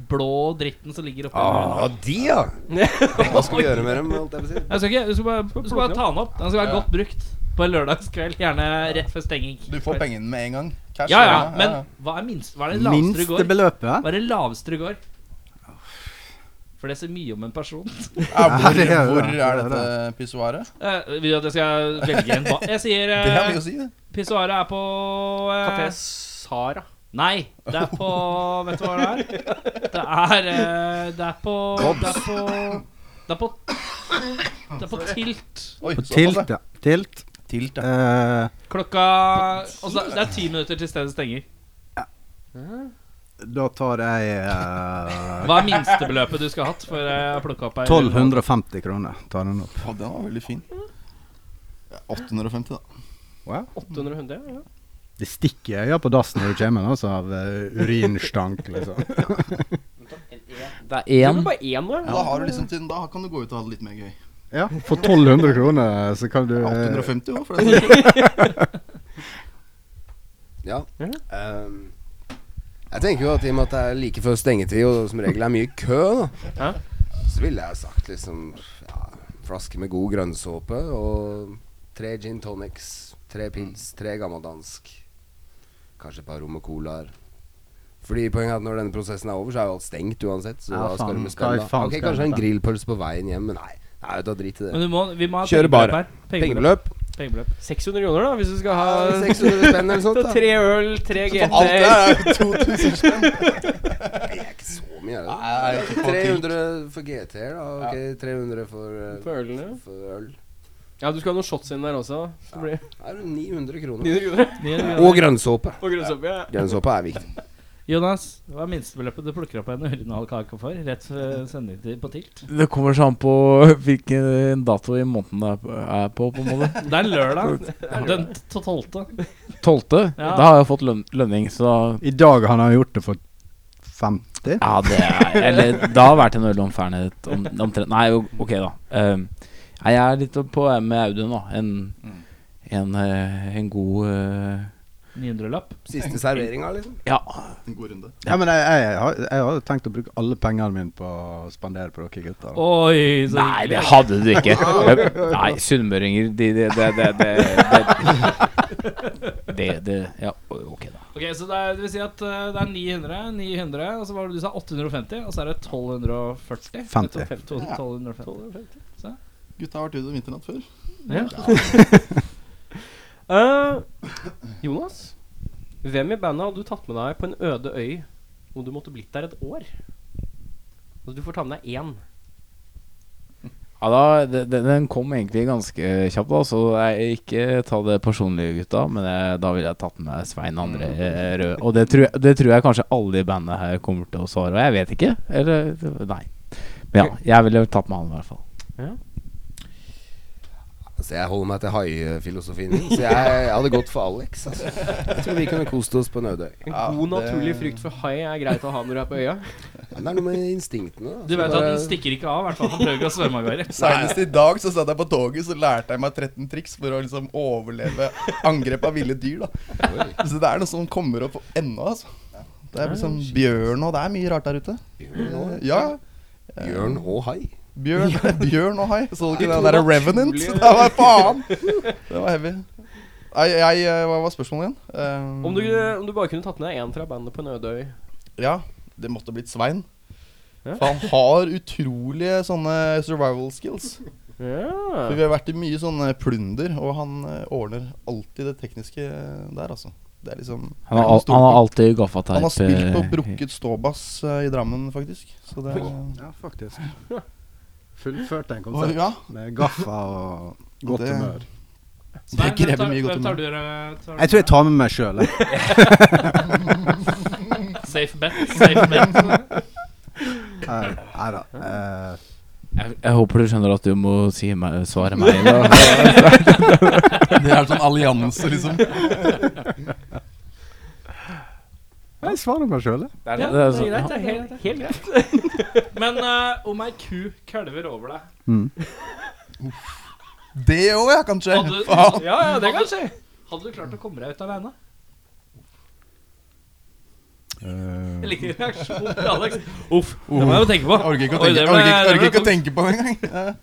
S1: blå dritten som ligger oppi
S6: Ah, de, ja! Hva skal vi gjøre med dem? Holdt jeg på å si?
S1: Jeg skal ikke, du skal bare, du skal bare ta den opp. Den skal være godt brukt på en lørdagskveld. Gjerne rett før stenging.
S3: Du får pengene med en gang. Cash.
S1: Ja, ja, men hva er, minst, hva er det laveste du går?
S5: Minstebeløpet?
S1: Hva er det laveste du går? For det sier mye om en person.
S3: Ja,
S5: Ja,
S3: hvor,
S5: det er jo
S3: hvor
S5: det.
S3: er
S5: Det er
S3: dette pissoaret?
S1: Eh, vil du at jeg skal velge en ba... Jeg sier
S3: Det har vi
S1: uh,
S3: å si, det.
S1: pissoaret er på eh,
S2: Kafé Sara.
S1: Nei, det er på Vet du hva det er? Det er, eh, det er på Det er på Det er på Det er på tilt.
S3: Oi, såpass,
S5: Tilt, ja. Tilt.
S3: ja. Tilt, ja.
S5: Eh,
S1: Klokka Og så, det er ti minutter til stedet stenger.
S5: da tar jeg eh,
S1: Hva er minstebeløpet du skulle hatt for eh, å plukke opp ei
S5: 1250 kroner. Tar den opp.
S3: Å, den var veldig fin. Ja, 850, da.
S2: 800 ja.
S5: Det stikker i øya på dassen når du kommer, altså, av eh, urinstank, liksom.
S4: Det er
S2: Det er vel
S4: én.
S2: bare én nå?
S3: Da har du liksom til, da kan du gå ut og ha det litt mer gøy.
S5: Ja, for 1200 kroner så kan du eh,
S3: 850 òg, for det er sånn.
S6: Ja. Ehm, jeg tenker jo at i og med at det er like før stengetid, og som regel er mye kø, da,
S2: Ja.
S6: så ville jeg sagt liksom ja, flaske med god grønnsåpe og tre gin tonics, tre pils, tre gammeldansk, kanskje et par rom og colaer. Fordi poenget er at når denne prosessen er over, så er jo alt stengt uansett. Så
S5: Ja,
S6: da
S5: faen,
S6: skal du med
S5: skal
S6: spenn,
S5: jeg
S6: da.
S5: faen
S6: Ok,
S5: skal
S6: kanskje
S5: jeg
S6: en
S5: med
S6: grillpølse på veien hjem, men nei. Nei, da drit i det.
S1: Men du må, vi må ha
S6: Kjøre
S1: pengebeløp
S6: bare.
S1: her. Pengebeløp.
S6: Pengebeløp?
S2: 600 kroner, da, hvis du skal ha
S6: 600 spenn eller sånt, da.
S2: Tre øl, tre
S3: Så Alt det
S2: GT.
S3: her er jo 2000 spenn.
S6: Det er ikke så mye, er det?
S3: Nei, ikke på tilt.
S6: 300 for GT-er, da. Ok, 300 for, eh,
S2: For ølene.
S6: for øl.
S2: Ja, du skal ha noen shots inn der også. da. Så blir det
S6: Da er det 900 kroner.
S2: 900 kroner.
S6: Og grønnsåpe.
S2: På grønnsoppe, ja.
S6: Grønnsåpe er viktig.
S1: Jonas, hva er minstebeløpet du plukker opp en urinalkake for rett før sendetid på tilt?
S4: Det kommer så an på hvilken dato i måneden det er på- er på, på en måte.
S1: Det er lørdag. Den t- tolvte.
S4: Tolvte?
S1: Ja.
S4: Da har jeg fått løn lønning, så da
S5: I dag han har gjort det for 50.
S4: Ja, det er Eller det har vært en øl om fernet om, omtrent. Nei, o- ok, da. Ehm, nei, jeg er litt på med Audun, da. En, en, eh, en god eh,
S1: 900-lapp.
S6: Siste serveringa, liksom.
S4: Ja.
S3: En god runde.
S5: Ja, men jeg, jeg, har, jeg har tenkt å bruke alle pengene mine på å spandere på dere gutter. da.
S1: Oi, så
S4: Nei, det
S1: hyggelig.
S4: hadde du ikke. Jeg- Nei, sunnmøringer de, de, de, de, de, de. Det, det Ja, o- ok, da.
S1: Ok, så det, er, det vil si at eh, det er 900, 900, og så var det du sa 850, og så er det 1240?
S5: 50.
S1: Nei, 1250. 1250.
S3: Gutta har vært ute om vinternatt før.
S2: Eh, Jonas, hvem i bandet hadde du tatt med deg på en øde øy om du måtte blitt der et år? Altså, du får ta med deg én.
S4: Ja, da de- de- den kom egentlig ganske kjapt, da, så jeg, ikke ta det personlige, gutta. Men jeg, da ville jeg tatt med Svein André eh, Rød. Og det tror, jeg, det tror jeg kanskje alle i bandet her kommer til å svare. Og jeg vet ikke. Eller nei. Men ja, jeg ville tatt med han i hvert fall.
S6: Så Altså, jeg holder meg til haifilosofien. min, Så jeg, jeg hadde gått for Alex. Altså. Jeg tror vi kunne kost oss på en øde øy.
S2: En
S3: Ja,
S2: god,
S3: det-
S2: naturlig frukt for hai er greit å ha når du er på øya.
S6: Men det er noe med instinktene. da.
S1: Du vet at den stikker ikke av, i hvert fall. Han prøver å svømme av gårde.
S3: Senest i dag så satt jeg på toget så lærte jeg meg 13 triks for å liksom overleve angrep av ville dyr. da Så det er noe som kommer opp ennå. altså Det er liksom bjørn og det er mye rart der ute. Eh, Ja,
S6: Bjørn og hai.
S3: bjørn, bjørn og hai. Så du ikke den der Revenant? Det var faen! Det var heavy. Nei, jeg, eh, Hva var spørsmålet igjen? Eh,
S2: Om du, om du bare kunne tatt med deg én fra bandet på en øde øy
S3: Ja, det måtte blitt Svein.
S2: Ja.
S3: For han har utrolige sånne survival skills.
S2: ja.
S3: For vi har vært i mye sånne plunder, og han eh, ordner alltid det tekniske eh, der, altså. Det er liksom
S4: Han har, al- han har alltid gaffateip.
S3: han har spilt på
S4: eh,
S3: brukket ståbass eh, i Drammen, faktisk. Så det
S5: Ja, faktisk. Fullførte en
S3: og,
S5: konsert
S3: Ja,
S5: med gaffa og godt
S3: Det-
S5: humør.
S1: Nei,
S3: Det
S1: hvem
S3: krever
S1: tar-
S3: mye godt
S1: hvem tar du, eh, tar
S5: Jeg tror jeg tar med meg sjøl.
S1: Safe bet. Safe bet.
S5: Nei da. Eh,
S4: Jeg, jeg håper du skjønner at du må si meg, svare meg. Da.
S3: Det er sånn allianse, liksom.
S5: Jeg svarer meg sjøl, jeg.
S4: Det er,
S1: Ja,
S4: det er
S1: det er
S4: sånn-
S1: greit. Det er helt, helt greit. Men eh, om ei ku kalver over deg
S3: Det òg, ja, kanskje.
S1: Hadde,
S3: Faen.
S2: ja, ja, det kan skje.
S1: Hadde du klart å komme deg ut aleine?
S5: Eh,
S1: Jeg liker reaksjonen til Alex. Uff, det må jeg jo tenke på.
S3: Orker ikke å
S1: Oi,
S3: tenke,
S1: det ble-
S3: orker ikke, orker
S1: det ble
S3: ikke å tenke på det engang.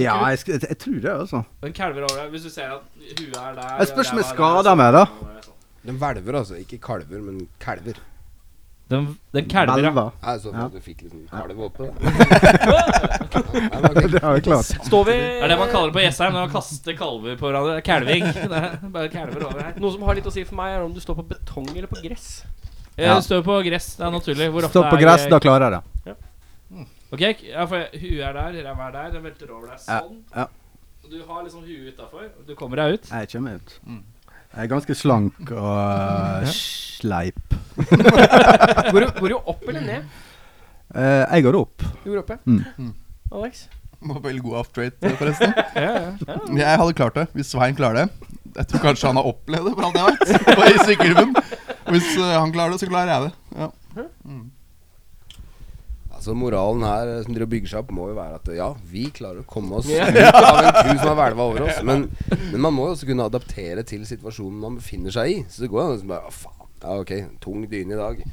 S5: Ja, jeg, sk- jeg tror det, altså.
S1: Den kalver over deg hvis du ser at huet er der.
S5: Jeg spørs om jeg
S1: ræva er der,
S5: skader
S1: så-
S5: meg, da.
S6: Den hvelver, altså. Ikke kalver, men kalver.
S1: Den, den kalver, ja.
S5: Velva.
S6: Nei, så
S5: Ja.
S6: at du fikk liksom kalv oppå. Ja, nei, men ok.
S5: Det er jo klart.
S2: Står vi
S1: Det er det man kaller det på Jessheim, når man kaster kalver på hverandre. Kalving. Det er Bare kalver over her.
S2: Noe som har litt å si for meg, er om du står på betong eller på gress.
S1: Ja. Det står på gress, det er naturlig. Hvor ofte
S5: Stå på
S1: er
S5: gress, da klarer jeg det.
S1: Ok, ja, for huet er der, ræva er der, den velter over deg
S5: Ja,
S1: sånn.
S5: ja.
S1: Og du har liksom huet utafor, og du kommer deg ut.
S5: Jeg kommer ut. Jeg er ganske slank og eh, sleip.
S2: Går du, går du opp eller ned?
S5: Eh, jeg går opp.
S2: Du går opp, ja.
S5: Mm.
S2: Alex?
S3: Må velge god off-trade, forresten.
S1: Ja, ja.
S3: Jeg hadde klart det, hvis Svein klarer det. Jeg tror kanskje han har opplevd det, for alt jeg vet. Bare i sykkelklubben. Hvis eh, han klarer det, så klarer jeg det. Ja.
S6: Altså Moralen her eh, som driver og bygger seg opp, må jo være at eh, ja, vi klarer å komme oss ut av en ku som har hvelva over oss. Men, men man må jo også kunne adaptere til situasjonen man befinner seg i. Så det går jo an å liksom bare Å, faen. Ja, ok, tung dyne i dag.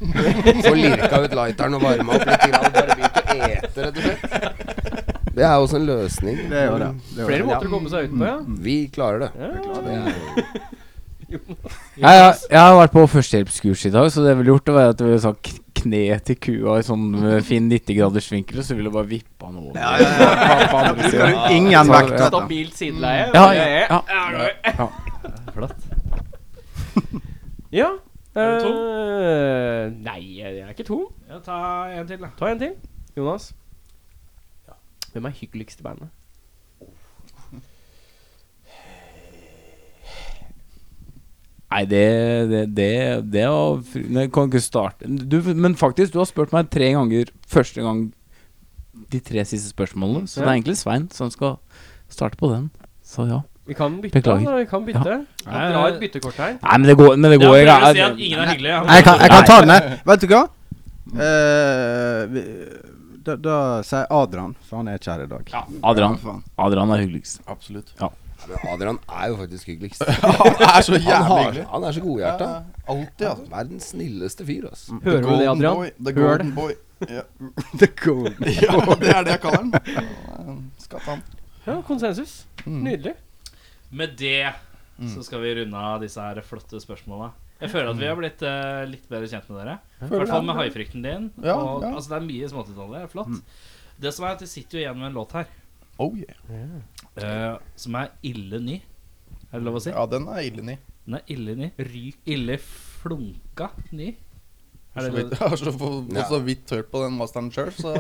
S6: Så lirka ut lighteren og varma opp litt. til han Bare begynte å ete, rett og slett. Det er også en løsning.
S5: Det er jo det. det, er jo
S2: Flere
S5: det.
S2: måter å komme seg ut på, ja.
S6: Vi klarer det. det er,
S4: Jeg, jeg, jeg har vært på førstehjelpskurs i dag, så det jeg ville gjort, det var at jeg ville sagt k- kne til kua i sånn eh, fin 90-graders vinkel, og så ville jeg bare vippa den over. Ja, ja,
S5: Bruker du ingen
S4: Ja.
S5: vekt? vet du.
S2: Stabilt sideleie.
S4: Mm. ja, ja.
S2: ja.
S1: Er du tom?
S2: Eh, nei, jeg er ikke tom.
S1: ja ta en til, da.
S2: Ta en til. Jonas. Hvem er hyggeligst i bandet?
S4: Nei, det, det, det, det var fr- Nei, jeg kan ikke starte du, Men faktisk, du har spurt meg tre ganger første gang de tre siste spørsmålene, så det
S2: Ja.
S4: er egentlig Svein som skal starte på den. Så ja.
S2: Vi kan bytte.
S4: Beklager.
S2: da, Vi kan bytte.
S1: Nei,
S2: Kan dra
S1: nei.
S2: et byttekort her.
S4: Nei, men det går, men det
S1: Ja,
S4: går
S1: for jeg vil
S4: ikke.
S1: si at ingen er hyggelig.
S5: Jeg kan, jeg kan ta den, jeg. Vet du hva? Eh, vi- da, da sier jeg Adrian, for han er ikke her i dag.
S4: Adrian,
S5: faen.
S4: Adrian er hyggeligst.
S3: Absolutt.
S6: men Adrian er jo faktisk hyggeligst.
S3: Han er så
S6: Han,
S3: jævlig
S6: har,
S3: hyggelig.
S6: han er så godhjerta.
S3: Alltid, ja.
S5: altså.
S6: Verdens snilleste fyr, altså.
S2: Hører du det, Adrian?
S3: Boy, the
S2: Hør
S3: golden boy. Ja.
S5: The Golden
S3: ja, det er det jeg kaller den. Han er en Skatt, han.
S2: Ja, konsensus. Nydelig.
S1: Med det så skal vi runde av disse her flotte spørsmåla. Jeg føler at vi har blitt eh, litt bedre kjent med dere. I hvert fall med haifrykten din.
S3: Ja,
S1: og,
S3: ja.
S1: Altså, det er mye smådetaljer. det er Flott. Det som er at Vi sitter jo igjen med en låt her
S3: Oh, yeah.
S1: eh, som er ille ny. Er det lov å si?
S3: Ja, den er ille ny.
S1: Den er ille ny. Ryk. Ille flunka ny. Er
S3: Så
S1: det
S3: vidt-
S1: lov?
S3: Jeg har så, få-
S6: Ja.
S3: så vidt hørt på den masteren sjøl, så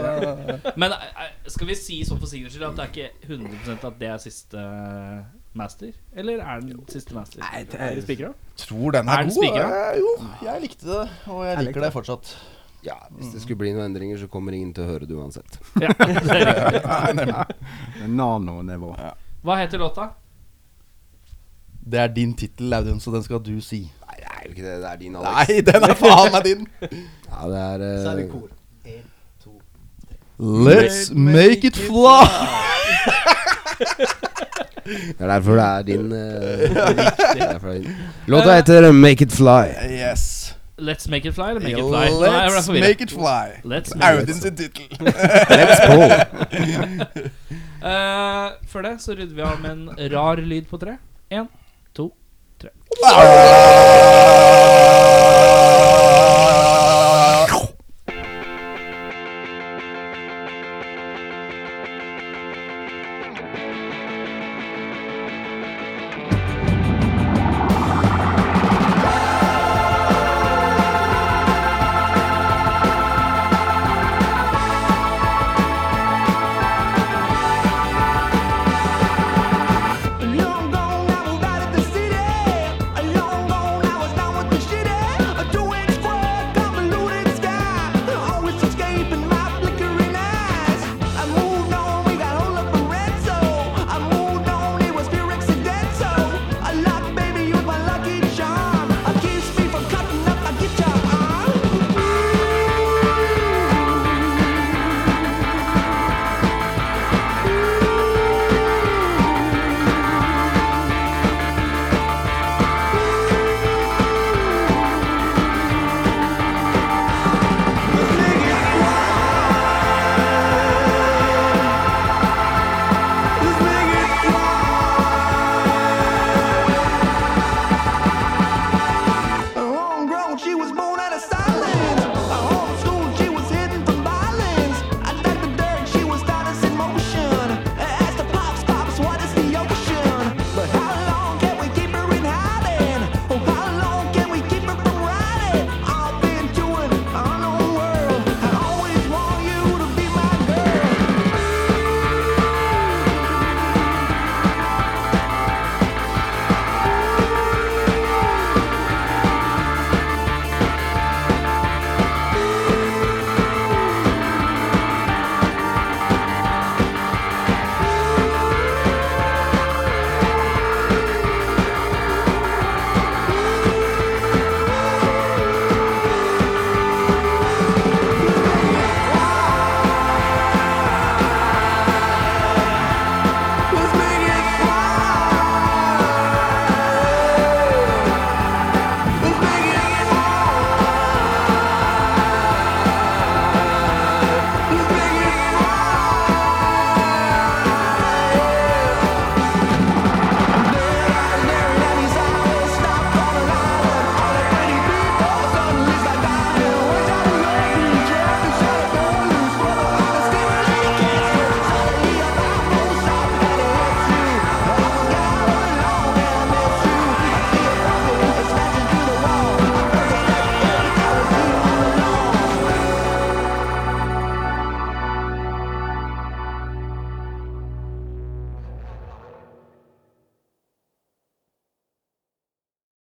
S1: Men eh, eh, skal vi si sånn for sikkerhets skyld at det er ikke 100 at det er siste eh, master? Eller er den siste master?
S5: Nei, det
S2: Er det
S5: er-
S2: spikra?
S3: Tror den
S1: Er
S3: er,
S1: den
S3: god.
S1: spikra?
S3: Eh, Jo, jeg likte det, og jeg liker det fortsatt.
S6: Ja, hvis det skulle bli noen endringer, så kommer ingen til å høre det uansett.
S1: Ja, det er riktig.
S5: nanonivå.
S1: Hva heter låta?
S3: Det er din tittel, Audun, så den skal du si.
S6: Nei, det er jo ikke det. Det er din, Alex.
S3: Nei, den er faen meg din!
S6: Ja, det er eh,
S3: Let's make it fly!
S6: Det er derfor det er din eh, Det er derfor det er din. Låta heter Make It Fly.
S3: Yes.
S1: Let's make it fly eller make it fly? Nei, jeg ble
S3: Let's
S1: forvirret.
S3: make it fly.
S1: Let's make
S3: Audun sin tittel.
S6: Let's go.
S1: Eh, Før det så rydder vi av med en rar lyd på tre. Én, to, tre.
S3: Ah!
S8: Mm. Oh,